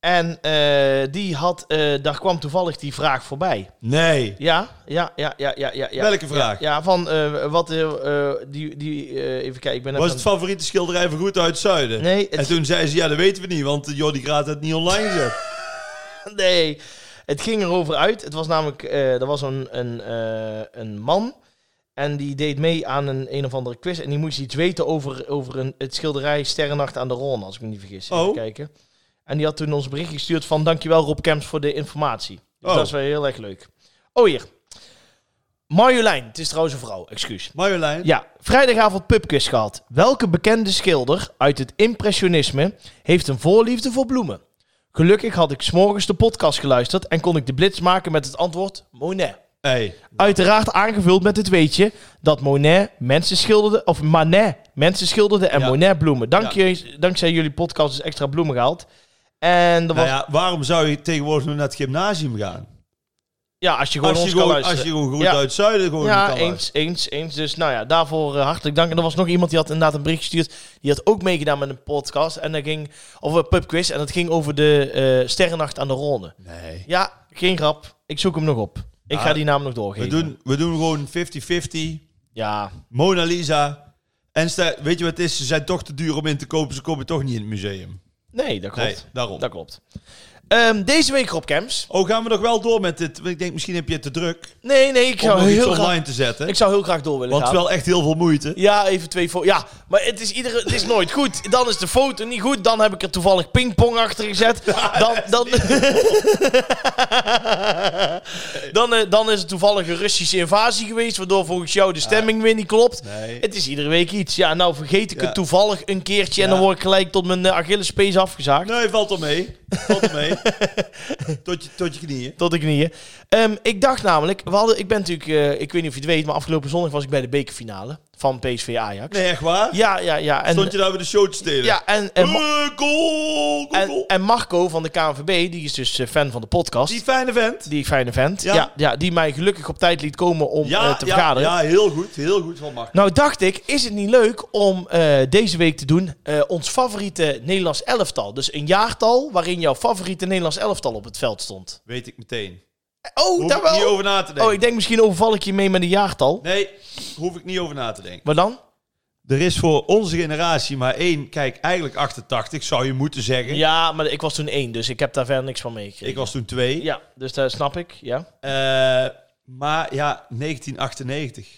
[SPEAKER 1] En eh, die had, eh, daar kwam toevallig die vraag voorbij.
[SPEAKER 2] Nee.
[SPEAKER 1] Ja, ja, ja, ja, ja, ja. ja.
[SPEAKER 2] Welke vraag?
[SPEAKER 1] Ja, van eh, wat, eh, eh, die, die eh, even kijken, ik ben
[SPEAKER 2] Was
[SPEAKER 1] even
[SPEAKER 2] het
[SPEAKER 1] aan-
[SPEAKER 2] favoriete schilderij van Goed uit het Zuiden?
[SPEAKER 1] Nee, het-
[SPEAKER 2] En toen zei ze, ja, dat weten we niet, want eh, Jordi Graat had het niet online gezet.
[SPEAKER 1] Nee, het ging erover uit. Het was namelijk, eh, er was een, een, eh, een man en die deed mee aan een een of andere quiz. En die moest iets weten over, over een, het schilderij Sterrennacht aan de Rhône, als ik me niet vergis. Even
[SPEAKER 2] Oh.
[SPEAKER 1] kijken. En die had toen ons bericht gestuurd van dankjewel Rob Kemps voor de informatie. Dus
[SPEAKER 2] Oh.
[SPEAKER 1] dat is wel heel erg leuk. Oh hier. Marjolein, het is trouwens een vrouw, excuus.
[SPEAKER 2] Marjolein?
[SPEAKER 1] Ja, vrijdagavond pubquiz gehad. Welke bekende schilder uit het impressionisme heeft een voorliefde voor bloemen? Gelukkig had ik s'morgens de podcast geluisterd en kon ik de blitz maken met het antwoord Monet.
[SPEAKER 2] Hey.
[SPEAKER 1] Uiteraard aangevuld met het weetje dat Monet mensen schilderde, of Manet mensen schilderde en
[SPEAKER 2] Ja.
[SPEAKER 1] Monet bloemen. Dank je, dankzij jullie podcast is extra bloemen gehaald. En er was,
[SPEAKER 2] Nou
[SPEAKER 1] ja,
[SPEAKER 2] ja, waarom zou je tegenwoordig nog naar het gymnasium gaan?
[SPEAKER 1] als je gewoon
[SPEAKER 2] Als je
[SPEAKER 1] ons kan
[SPEAKER 2] gewoon, als je
[SPEAKER 1] luisteren.
[SPEAKER 2] gewoon Goed
[SPEAKER 1] Ja.
[SPEAKER 2] uit het Zuiden gewoon niet
[SPEAKER 1] Ja,
[SPEAKER 2] kan luisteren.
[SPEAKER 1] eens, eens, eens. Dus nou ja, daarvoor eh, hartelijk dank. En er was nog iemand die had inderdaad een bericht gestuurd. Die had ook meegedaan met een podcast. En dat ging over een pubquiz. En dat ging over de eh, Sterrennacht aan de Ronde.
[SPEAKER 2] Nee.
[SPEAKER 1] Ja, geen grap. Ik zoek hem nog op. Ik
[SPEAKER 2] Ja,
[SPEAKER 1] ga die naam nog
[SPEAKER 2] Ah. We
[SPEAKER 1] doorgeven.
[SPEAKER 2] doen, we doen gewoon 50-50.
[SPEAKER 1] Ja,
[SPEAKER 2] Mona Lisa. En sta- weet je wat het is? Ze zijn toch te duur om in te kopen. Ze komen toch niet in het museum.
[SPEAKER 1] nee, dat klopt.
[SPEAKER 2] Nee, daarom.
[SPEAKER 1] Dat klopt. Ehm, deze week op Camps.
[SPEAKER 2] Oh, gaan we nog wel door met dit? Want ik denk, misschien heb je het te druk
[SPEAKER 1] Nee, nee, ik
[SPEAKER 2] om
[SPEAKER 1] zou,
[SPEAKER 2] nog iets
[SPEAKER 1] heel graag,
[SPEAKER 2] online te zetten.
[SPEAKER 1] ik zou heel graag door willen
[SPEAKER 2] want het
[SPEAKER 1] gaan.
[SPEAKER 2] is wel echt heel veel moeite.
[SPEAKER 1] Ja, even twee foto's. Ja, maar het is, iedere, het is nooit goed. Dan is de foto niet goed. Dan heb ik er toevallig pingpong achter gezet. Dan, dan, dan, eh, dan is het toevallig een Russische invasie geweest. Waardoor volgens jou de stemming weer niet klopt.
[SPEAKER 2] Nee.
[SPEAKER 1] Het is iedere week iets. Ja, nou vergeet ik
[SPEAKER 2] Ja.
[SPEAKER 1] het toevallig een keertje. En
[SPEAKER 2] Ja.
[SPEAKER 1] dan word ik gelijk tot mijn eh, Achillespees afgezaagd.
[SPEAKER 2] Nee, valt al mee. Valt al mee. tot, je, tot je knieën.
[SPEAKER 1] Tot de knieën. Ehm, ik dacht namelijk, we hadden, ik ben natuurlijk, eh, ik weet niet of je het weet, maar afgelopen zondag was ik bij de bekerfinale van PSV Ajax.
[SPEAKER 2] Nee, echt waar?
[SPEAKER 1] Ja, ja, ja. En,
[SPEAKER 2] Stond je daar bij de show te stelen?
[SPEAKER 1] ja, en, en,
[SPEAKER 2] Eh, goal, goal,
[SPEAKER 1] En,
[SPEAKER 2] goal.
[SPEAKER 1] en Marco van de KNVB, die is dus eh, fan van de podcast.
[SPEAKER 2] Die
[SPEAKER 1] Die,
[SPEAKER 2] fijne vent.
[SPEAKER 1] fijne vent. Ja.
[SPEAKER 2] Ja.
[SPEAKER 1] Ja, die mij gelukkig op tijd liet komen om eh, te
[SPEAKER 2] ja,
[SPEAKER 1] vergaderen.
[SPEAKER 2] ja, heel goed. Heel goed van Mark.
[SPEAKER 1] Nou dacht ik, is het niet leuk om eh, deze week te doen eh, ons favoriete Nederlands elftal. Dus een jaartal waarin jouw favoriete Nederlands elftal op het veld stond.
[SPEAKER 2] Weet ik meteen.
[SPEAKER 1] Oh,
[SPEAKER 2] Hoef
[SPEAKER 1] daar
[SPEAKER 2] ik niet
[SPEAKER 1] wel.
[SPEAKER 2] over na te denken.
[SPEAKER 1] Oh, ik denk misschien overval ik je mee met een jaartal.
[SPEAKER 2] Nee, hoef ik niet over na te denken.
[SPEAKER 1] Maar dan?
[SPEAKER 2] Er is voor onze generatie maar één, kijk, eigenlijk 88 zou je moeten zeggen.
[SPEAKER 1] Ja, maar ik was toen één, dus ik heb daar verder niks van meegekregen.
[SPEAKER 2] Ik was toen twee.
[SPEAKER 1] Ja, dus dat snap ik, ja.
[SPEAKER 2] Eh, maar ja, 1998.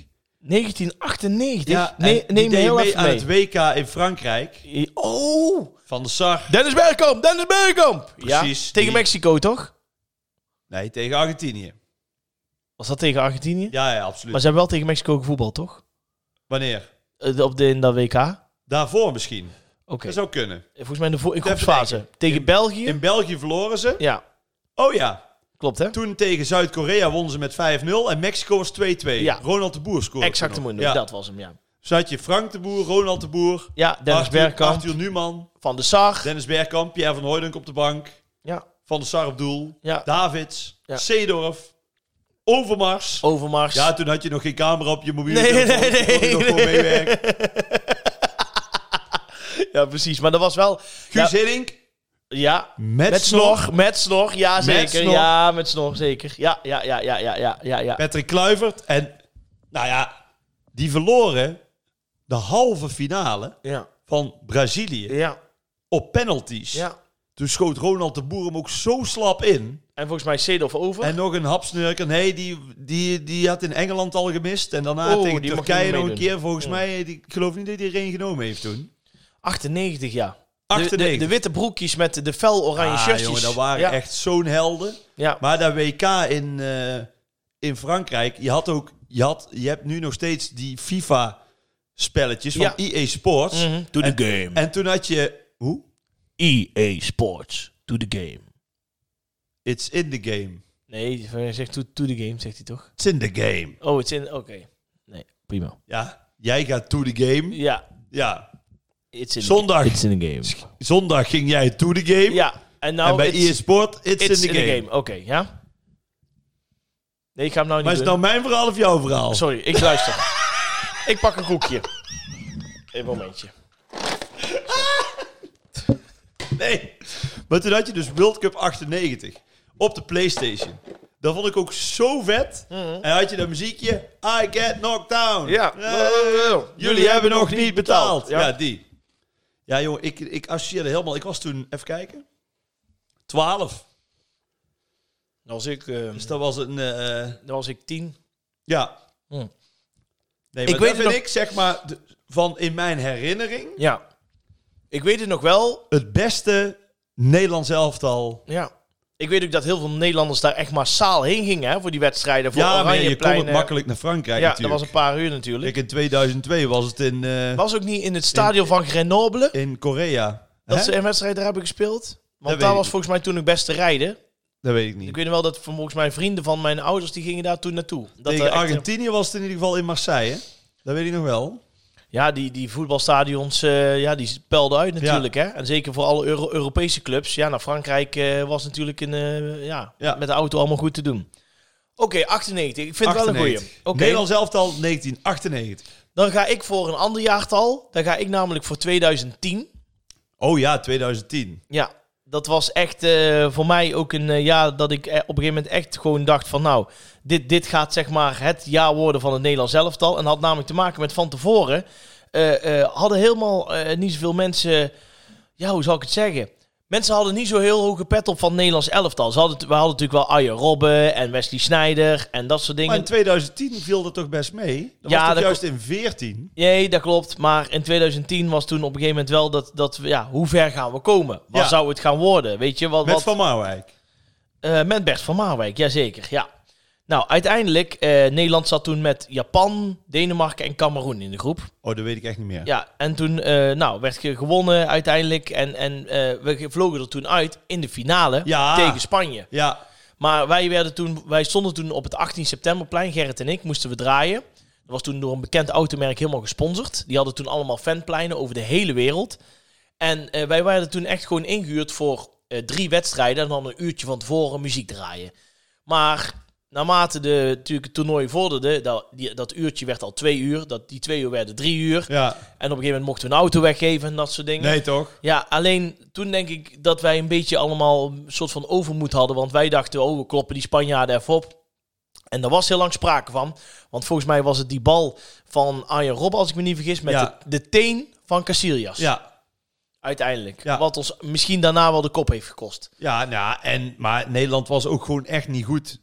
[SPEAKER 1] 1998?
[SPEAKER 2] Ja, en
[SPEAKER 1] nee,
[SPEAKER 2] die
[SPEAKER 1] neem me
[SPEAKER 2] deed
[SPEAKER 1] heel
[SPEAKER 2] mee
[SPEAKER 1] even
[SPEAKER 2] aan
[SPEAKER 1] mee.
[SPEAKER 2] het WK in Frankrijk.
[SPEAKER 1] Oh!
[SPEAKER 2] Van de Sar.
[SPEAKER 1] Dennis Bergkamp, Dennis Bergkamp!
[SPEAKER 2] Precies,
[SPEAKER 1] Ja, tegen
[SPEAKER 2] die-
[SPEAKER 1] Mexico, toch?
[SPEAKER 2] Nee, tegen Argentinië.
[SPEAKER 1] Was dat tegen Argentinië?
[SPEAKER 2] Ja, ja, absoluut.
[SPEAKER 1] Maar ze hebben wel tegen Mexico gevoetbald, toch?
[SPEAKER 2] Wanneer?
[SPEAKER 1] Eh, Op de, in dat WK? Oké.
[SPEAKER 2] Daarvoor misschien. Dat zou kunnen.
[SPEAKER 1] Volgens mij in de vo- in
[SPEAKER 2] Even
[SPEAKER 1] groepsfase.
[SPEAKER 2] denken.
[SPEAKER 1] Tegen
[SPEAKER 2] In-
[SPEAKER 1] België?
[SPEAKER 2] In België verloren ze.
[SPEAKER 1] Ja,
[SPEAKER 2] Oh ja.
[SPEAKER 1] klopt hè?
[SPEAKER 2] Toen tegen Zuid-Korea wonnen ze met 5-0 en Mexico was 2-2.
[SPEAKER 1] Ja.
[SPEAKER 2] Ronald de Boer scoorde.
[SPEAKER 1] Exact de
[SPEAKER 2] toen nog.
[SPEAKER 1] mundo,
[SPEAKER 2] Ja.
[SPEAKER 1] dat was hem, ja.
[SPEAKER 2] Zo had je Frank de Boer, Ronald de Boer,
[SPEAKER 1] Ja, Dennis
[SPEAKER 2] Arthur,
[SPEAKER 1] Bergkamp,
[SPEAKER 2] Arthur Newman,
[SPEAKER 1] Van de Sar.
[SPEAKER 2] Dennis Bergkamp, Pierre van Hooydonk op de bank,
[SPEAKER 1] Ja,
[SPEAKER 2] Van der Sar op doel,
[SPEAKER 1] ja.
[SPEAKER 2] Davids,
[SPEAKER 1] Ja.
[SPEAKER 2] Seedorf, Overmars.
[SPEAKER 1] Overmars.
[SPEAKER 2] Ja, toen had je nog geen camera op je mobiele
[SPEAKER 1] Nee,
[SPEAKER 2] telefoon.
[SPEAKER 1] nee,
[SPEAKER 2] toen kon je
[SPEAKER 1] nee,
[SPEAKER 2] nog gewoon meewerken.
[SPEAKER 1] Ja, precies. Maar dat was wel...
[SPEAKER 2] Guus
[SPEAKER 1] ja,
[SPEAKER 2] Hiddink.
[SPEAKER 1] ja,
[SPEAKER 2] Met,
[SPEAKER 1] met
[SPEAKER 2] snor.
[SPEAKER 1] snor. Met snor, ja zeker.
[SPEAKER 2] snor.
[SPEAKER 1] Ja, met snor, zeker. Ja, ja, ja, ja, ja, ja, ja. ja.
[SPEAKER 2] Patrick Kluivert. En nou ja, die verloren de halve finale
[SPEAKER 1] Ja,
[SPEAKER 2] van Brazilië
[SPEAKER 1] ja,
[SPEAKER 2] op penalties.
[SPEAKER 1] ja.
[SPEAKER 2] Toen schoot Ronald de Boer hem ook zo slap in.
[SPEAKER 1] En volgens mij Seedorf over.
[SPEAKER 2] En nog een hapsnurk. En hey, die, die, die had in Engeland al gemist. En daarna
[SPEAKER 1] Oh,
[SPEAKER 2] tegen
[SPEAKER 1] die mag
[SPEAKER 2] Turkije
[SPEAKER 1] niet meer
[SPEAKER 2] nog een
[SPEAKER 1] meedoen.
[SPEAKER 2] keer. Volgens mij, die, ik geloof niet dat hij er één genomen heeft toen.
[SPEAKER 1] 98, ja. De-
[SPEAKER 2] 98.
[SPEAKER 1] De, de witte broekjes met de fel oranje
[SPEAKER 2] ah,
[SPEAKER 1] shirtjes.
[SPEAKER 2] jongen, dat waren
[SPEAKER 1] ja.
[SPEAKER 2] echt zo'n helden.
[SPEAKER 1] Ja.
[SPEAKER 2] Maar dat WK in, eh, in Frankrijk, je had ook, je, had, je hebt nu nog steeds die FIFA-spelletjes van
[SPEAKER 1] Ja.
[SPEAKER 2] EA Sports.
[SPEAKER 1] Mhm.
[SPEAKER 3] To the
[SPEAKER 2] En-
[SPEAKER 3] game.
[SPEAKER 2] En toen had je, hoe?
[SPEAKER 3] EA Sports. To the game.
[SPEAKER 2] It's in the game.
[SPEAKER 1] Nee, hij zegt to, to the game, zegt hij toch?
[SPEAKER 2] It's in the game.
[SPEAKER 1] Oh, het is in... Oké. Nee, prima.
[SPEAKER 2] Ja, jij gaat to the game.
[SPEAKER 1] Ja,
[SPEAKER 2] Ja,
[SPEAKER 1] it's in
[SPEAKER 2] zondag,
[SPEAKER 3] It's in the game.
[SPEAKER 2] zondag ging jij to the game.
[SPEAKER 1] Ja, en nou...
[SPEAKER 2] en bij E
[SPEAKER 1] it's-
[SPEAKER 2] EA Sport, it's,
[SPEAKER 1] It's
[SPEAKER 2] in the game.
[SPEAKER 1] Oké, ja. Nee, ik ga hem nou niet
[SPEAKER 2] Maar is het
[SPEAKER 1] doen.
[SPEAKER 2] nou mijn verhaal of jouw verhaal?
[SPEAKER 1] Sorry, ik luister. ik pak een koekje. Een momentje.
[SPEAKER 2] Nee. Maar toen had je dus World Cup 98 op de PlayStation. Dat vond ik ook zo vet. En had je dat muziekje. I get knocked down.
[SPEAKER 1] Mhm. Ja.
[SPEAKER 2] Eh, jullie hebben nog niet betaald. Ja,
[SPEAKER 1] Ja.
[SPEAKER 2] die. Ja, jongen, ik, ik associeerde helemaal. Ik was toen, even kijken, 12.
[SPEAKER 1] Als ik, eh
[SPEAKER 2] Dus dat was een. eh,
[SPEAKER 1] als ik tien...
[SPEAKER 2] ja.
[SPEAKER 1] Hm.
[SPEAKER 2] Nee,
[SPEAKER 1] Ik
[SPEAKER 2] maar ik
[SPEAKER 1] weet
[SPEAKER 2] dat
[SPEAKER 1] het
[SPEAKER 2] vind
[SPEAKER 1] nog-
[SPEAKER 2] ik, zeg maar, de- van in mijn herinnering.
[SPEAKER 1] Ja. Ik weet het nog wel.
[SPEAKER 2] Het beste Nederlands elftal.
[SPEAKER 1] Ja. Ik weet ook dat heel veel Nederlanders daar echt massaal heen gingen hè, voor die wedstrijden. Voor
[SPEAKER 2] Ja, maar je kon
[SPEAKER 1] Oranjeplein,
[SPEAKER 2] het
[SPEAKER 1] eh,
[SPEAKER 2] makkelijk naar Frankrijk.
[SPEAKER 1] Ja, dat
[SPEAKER 2] natuurlijk.
[SPEAKER 1] was een paar uur natuurlijk.
[SPEAKER 2] Ik in 2002 was het in, eh,
[SPEAKER 1] was ook niet in het stadion van Grenoble
[SPEAKER 2] in Korea.
[SPEAKER 1] dat eh,
[SPEAKER 2] Hè?
[SPEAKER 1] ze een wedstrijd daar hebben gespeeld. Want
[SPEAKER 2] weet
[SPEAKER 1] daar was
[SPEAKER 2] ik niet.
[SPEAKER 1] volgens mij toen ik best te rijden.
[SPEAKER 2] Dat weet ik niet.
[SPEAKER 1] Ik weet nog wel dat volgens mij vrienden van mijn ouders die gingen daar toen naartoe. Dat
[SPEAKER 2] Tegen
[SPEAKER 1] er echt- eh,
[SPEAKER 2] Argentinië was het in ieder geval in Marseille. Dat weet ik nog wel.
[SPEAKER 1] Ja, die, die voetbalstadions, eh, ja, die pelden uit natuurlijk. Hè? En zeker voor alle Euro- Europese clubs. Ja, naar Frankrijk eh, was natuurlijk een, eh, ja,
[SPEAKER 2] Ja.
[SPEAKER 1] met de auto allemaal goed te doen. Oké, 98. Ik vind het wel een
[SPEAKER 2] 98.
[SPEAKER 1] goeie. Oké,
[SPEAKER 2] Nederlands elftal 1998.
[SPEAKER 1] dan ga ik voor een ander jaartal. Dan ga ik namelijk voor 2010.
[SPEAKER 2] Oh ja, 2010.
[SPEAKER 1] Ja, dat was echt eh, voor mij ook een eh, jaar dat ik eh, op een gegeven moment echt gewoon dacht van nou, dit, dit gaat zeg maar het jaar worden van het Nederlands elftal. En had namelijk te maken met van tevoren eh, eh, hadden helemaal eh, niet zoveel mensen, ja hoe zal ik het zeggen? Mensen hadden niet zo heel hoge pet op van het Nederlands elftal. Ze hadden, we hadden natuurlijk wel Arjen Robben en Wesley Sneijder en dat soort
[SPEAKER 2] Maar
[SPEAKER 1] dingen.
[SPEAKER 2] in 2010 viel dat toch best mee? Dat
[SPEAKER 1] Ja,
[SPEAKER 2] was toch
[SPEAKER 1] dat
[SPEAKER 2] juist in 14?
[SPEAKER 1] Nee, dat klopt. Maar in 2010 was toen op een gegeven moment wel dat, dat we- ja, hoe ver gaan we komen? Wat
[SPEAKER 2] Ja.
[SPEAKER 1] zou het gaan worden? Weet je, wat,
[SPEAKER 2] Met
[SPEAKER 1] wat,
[SPEAKER 2] Van Marwijk.
[SPEAKER 1] Eh, met Bert van Marwijk, jazeker, ja. Nou, uiteindelijk, eh, Nederland zat toen met Japan, Denemarken en Cameroen in de groep.
[SPEAKER 2] Oh, dat weet ik echt niet meer.
[SPEAKER 1] Ja, en toen eh, nou, werd ge- gewonnen uiteindelijk. En, en eh, we vlogen er toen uit in de finale
[SPEAKER 2] Ja.
[SPEAKER 1] tegen Spanje.
[SPEAKER 2] Ja.
[SPEAKER 1] Maar wij, werden toen, wij stonden toen op het 18 septemberplein, Gerrit en ik, moesten we draaien. Dat was toen door een bekend automerk helemaal gesponsord. Die hadden toen allemaal fanpleinen over de hele wereld. En eh, wij werden toen echt gewoon ingehuurd voor eh, drie wedstrijden. En dan een uurtje van tevoren muziek draaien. Maar naarmate de, natuurlijk het toernooi vorderde, dat, die, dat uurtje werd al twee uur. Dat, die twee uur werden drie uur.
[SPEAKER 2] ja.
[SPEAKER 1] En op een gegeven moment mochten we een auto weggeven en dat soort dingen.
[SPEAKER 2] Nee, toch?
[SPEAKER 1] Ja, alleen toen denk ik dat wij een beetje allemaal een soort van overmoed hadden. Want wij dachten, oh, we kloppen die Spanjaarden even op. En daar was heel lang sprake van. Want volgens mij was het die bal van Arjen Rob, als ik me niet vergis, met
[SPEAKER 2] Ja.
[SPEAKER 1] de, de teen van Casillas.
[SPEAKER 2] Ja.
[SPEAKER 1] Uiteindelijk.
[SPEAKER 2] Ja.
[SPEAKER 1] Wat ons misschien daarna wel de kop heeft gekost.
[SPEAKER 2] Ja, nou, en, maar Nederland was ook gewoon echt niet goed.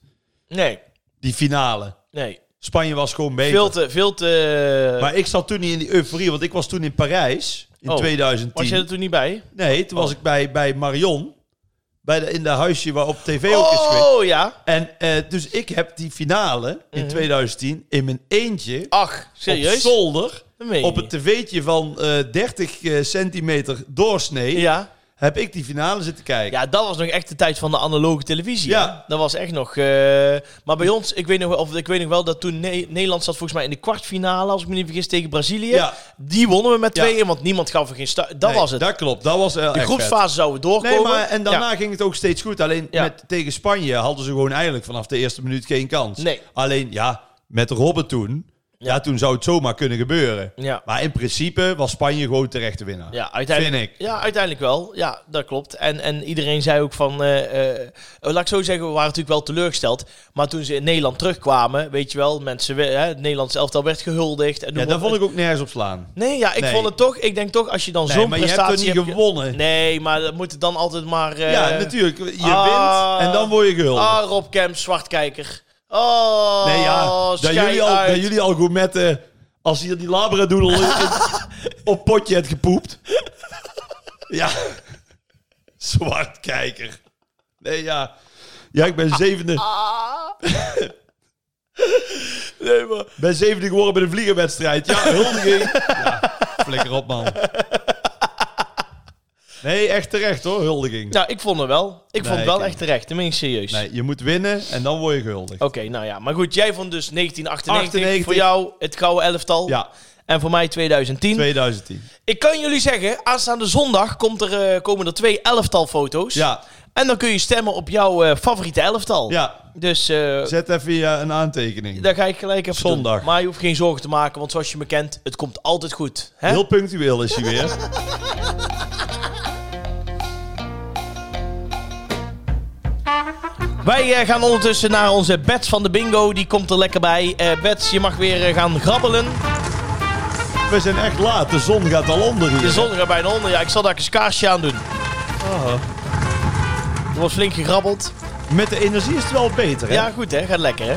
[SPEAKER 1] Nee,
[SPEAKER 2] Die finale.
[SPEAKER 1] nee.
[SPEAKER 2] Spanje was gewoon beter.
[SPEAKER 1] Veel te, veel te...
[SPEAKER 2] Maar ik zat toen niet in die euforie, want ik was toen in Parijs in
[SPEAKER 1] Oh,
[SPEAKER 2] 2010.
[SPEAKER 1] was je Oh. er toen niet bij?
[SPEAKER 2] Nee, toen was ik bij, bij Marion. Bij de, in dat huisje waar op tv ook is geweest.
[SPEAKER 1] Oh, ja.
[SPEAKER 2] En eh, dus ik heb die finale in 2010 in mijn eentje
[SPEAKER 1] Ach,
[SPEAKER 2] op
[SPEAKER 1] Mhm. serieus?
[SPEAKER 2] zolder
[SPEAKER 1] Dat meen je
[SPEAKER 2] op het
[SPEAKER 1] niet.
[SPEAKER 2] tv'tje van eh, 30 eh, centimeter doorsnee
[SPEAKER 1] Ja.
[SPEAKER 2] heb ik die finale zitten kijken.
[SPEAKER 1] Ja, dat was nog echt de tijd van de analoge televisie.
[SPEAKER 2] Ja.
[SPEAKER 1] hè? Dat was echt nog. eh, maar bij ons, ik weet nog wel, of, ik weet nog wel dat toen Ne- Nederland zat volgens mij in de kwartfinale, als ik me niet vergis, tegen Brazilië.
[SPEAKER 2] Ja.
[SPEAKER 1] Die wonnen we met
[SPEAKER 2] Ja.
[SPEAKER 1] 2-1, want niemand gaf er geen sta- Dat
[SPEAKER 2] Nee,
[SPEAKER 1] was het.
[SPEAKER 2] Dat klopt, dat was
[SPEAKER 1] de groepsfase zouden we doorkomen.
[SPEAKER 2] Nee, maar en daarna
[SPEAKER 1] Ja.
[SPEAKER 2] ging het ook steeds goed. Alleen
[SPEAKER 1] Ja.
[SPEAKER 2] met, tegen Spanje hadden ze gewoon eigenlijk vanaf de eerste minuut geen kans.
[SPEAKER 1] Nee.
[SPEAKER 2] Alleen ja, met Robben toen Ja, toen zou het zomaar kunnen gebeuren.
[SPEAKER 1] Ja.
[SPEAKER 2] Maar in principe was Spanje gewoon terecht te winnen.
[SPEAKER 1] Ja, uiteindelijk,
[SPEAKER 2] Vind ik.
[SPEAKER 1] Ja, uiteindelijk wel. Ja, dat klopt. En, en iedereen zei ook van... eh, eh, laat ik zo zeggen, we waren natuurlijk wel teleurgesteld. Maar toen ze in Nederland terugkwamen, weet je wel... Mensen, we- hè, het Nederlands elftal werd gehuldigd. En
[SPEAKER 2] Ja,
[SPEAKER 1] noem
[SPEAKER 2] daar
[SPEAKER 1] maar-
[SPEAKER 2] vond ik ook nergens op slaan.
[SPEAKER 1] Nee, ja, ik
[SPEAKER 2] Nee.
[SPEAKER 1] vond het toch... Ik denk toch, als je dan
[SPEAKER 2] Nee,
[SPEAKER 1] zo'n
[SPEAKER 2] maar je
[SPEAKER 1] prestatie
[SPEAKER 2] hebt er niet
[SPEAKER 1] hebt ge-
[SPEAKER 2] gewonnen.
[SPEAKER 1] Nee, maar dat moet het dan altijd maar... eh,
[SPEAKER 2] ja, natuurlijk. Je
[SPEAKER 1] ah,
[SPEAKER 2] wint en dan word je gehuldigd.
[SPEAKER 1] Ah, Rob Kemp, zwartkijker. Oh,
[SPEAKER 2] nee, ja. Dat
[SPEAKER 1] schei
[SPEAKER 2] jullie, al,
[SPEAKER 1] uit.
[SPEAKER 2] dat jullie al goed met... eh, als hier die labradoodle in- op potje hebt gepoept. ja. Zwartkijker. Nee, ja. Ja, ik ben zevende,
[SPEAKER 1] Ah. nee, maar...
[SPEAKER 2] ben zevende geworden bij de vliegerwedstrijd. Ja, huldiging. ja, flikker op, man. Nee, echt terecht, hoor. Huldiging.
[SPEAKER 1] Nou, ik vond het wel. Ik
[SPEAKER 2] Nee,
[SPEAKER 1] vond het wel
[SPEAKER 2] ik
[SPEAKER 1] echt terecht. Dan ben ik serieus.
[SPEAKER 2] Nee, je moet winnen en dan word je gehuldigd.
[SPEAKER 1] Oké, nou ja. Maar goed, jij vond dus 1998
[SPEAKER 2] 98.
[SPEAKER 1] voor jou het gouden elftal.
[SPEAKER 2] Ja,
[SPEAKER 1] En voor mij 2010.
[SPEAKER 2] 2010.
[SPEAKER 1] Ik kan jullie zeggen, aanstaande zondag komt er, eh, komen er twee elftal foto's.
[SPEAKER 2] Ja,
[SPEAKER 1] En dan kun je stemmen op jouw eh, favoriete elftal.
[SPEAKER 2] ja.
[SPEAKER 1] Dus eh,
[SPEAKER 2] Zet even je, eh, een aantekening.
[SPEAKER 1] daar ga ik gelijk even doen.
[SPEAKER 2] Zondag.
[SPEAKER 1] Maar je hoeft geen zorgen te maken, want zoals je me kent, het komt altijd goed. Hè?
[SPEAKER 2] Heel punctueel is hij weer.
[SPEAKER 1] Wij eh, gaan ondertussen naar onze Bets van de Bingo. Die komt er lekker bij. Eh Bets, je mag weer eh, gaan grabbelen.
[SPEAKER 2] We zijn echt laat. De zon gaat al onder hier.
[SPEAKER 1] De zon gaat bijna onder. Ja, ik zal daar eens een kaarsje aan doen. Er wordt flink gegrabbeld.
[SPEAKER 2] Met de energie is het wel beter, hè?
[SPEAKER 1] Ja, goed hè. Gaat lekker hè.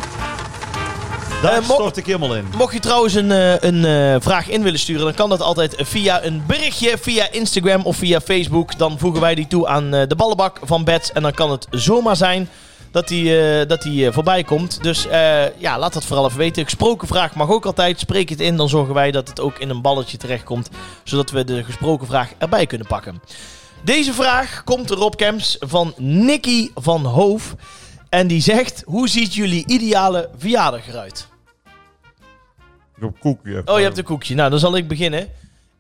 [SPEAKER 2] Daar
[SPEAKER 1] eh, mo-
[SPEAKER 2] stort ik helemaal in.
[SPEAKER 1] Mocht je trouwens een, eh, een eh, vraag in willen sturen, dan kan dat altijd via een berichtje, via Instagram of via Facebook. Dan voegen wij die toe aan eh, de ballenbak van Bets. En dan kan het zomaar zijn dat die, eh, dat die eh, voorbij komt. Dus eh, ja, laat dat vooral even weten. Gesproken vraag mag ook altijd. Spreek het in, dan zorgen wij dat het ook in een balletje terechtkomt. Zodat we de gesproken vraag erbij kunnen pakken. Deze vraag komt erop, Camps, van Nicky van Hoof. En die zegt, hoe ziet jullie ideale verjaardag eruit?
[SPEAKER 2] Op koekje.
[SPEAKER 1] Oh, je hebt een koekje. Nou, dan zal ik beginnen.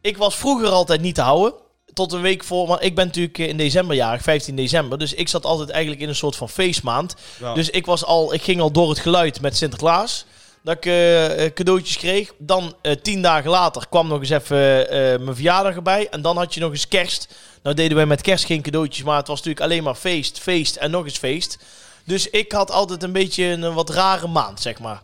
[SPEAKER 1] Ik was vroeger altijd niet te houden. Tot een week voor, want ik ben natuurlijk eh, in december jarig, 15 december. Dus ik zat altijd eigenlijk in een soort van feestmaand.
[SPEAKER 2] Ja.
[SPEAKER 1] Dus ik, was al, ik ging al door het geluid met Sinterklaas. Dat ik eh, eh, cadeautjes kreeg. Dan eh, tien dagen later kwam nog eens even eh, eh, mijn verjaardag erbij. En dan had je nog eens kerst. Nou deden wij met kerst geen cadeautjes, maar het was natuurlijk alleen maar feest, feest en nog eens feest. Dus ik had altijd een beetje een eh, wat rare maand, zeg maar.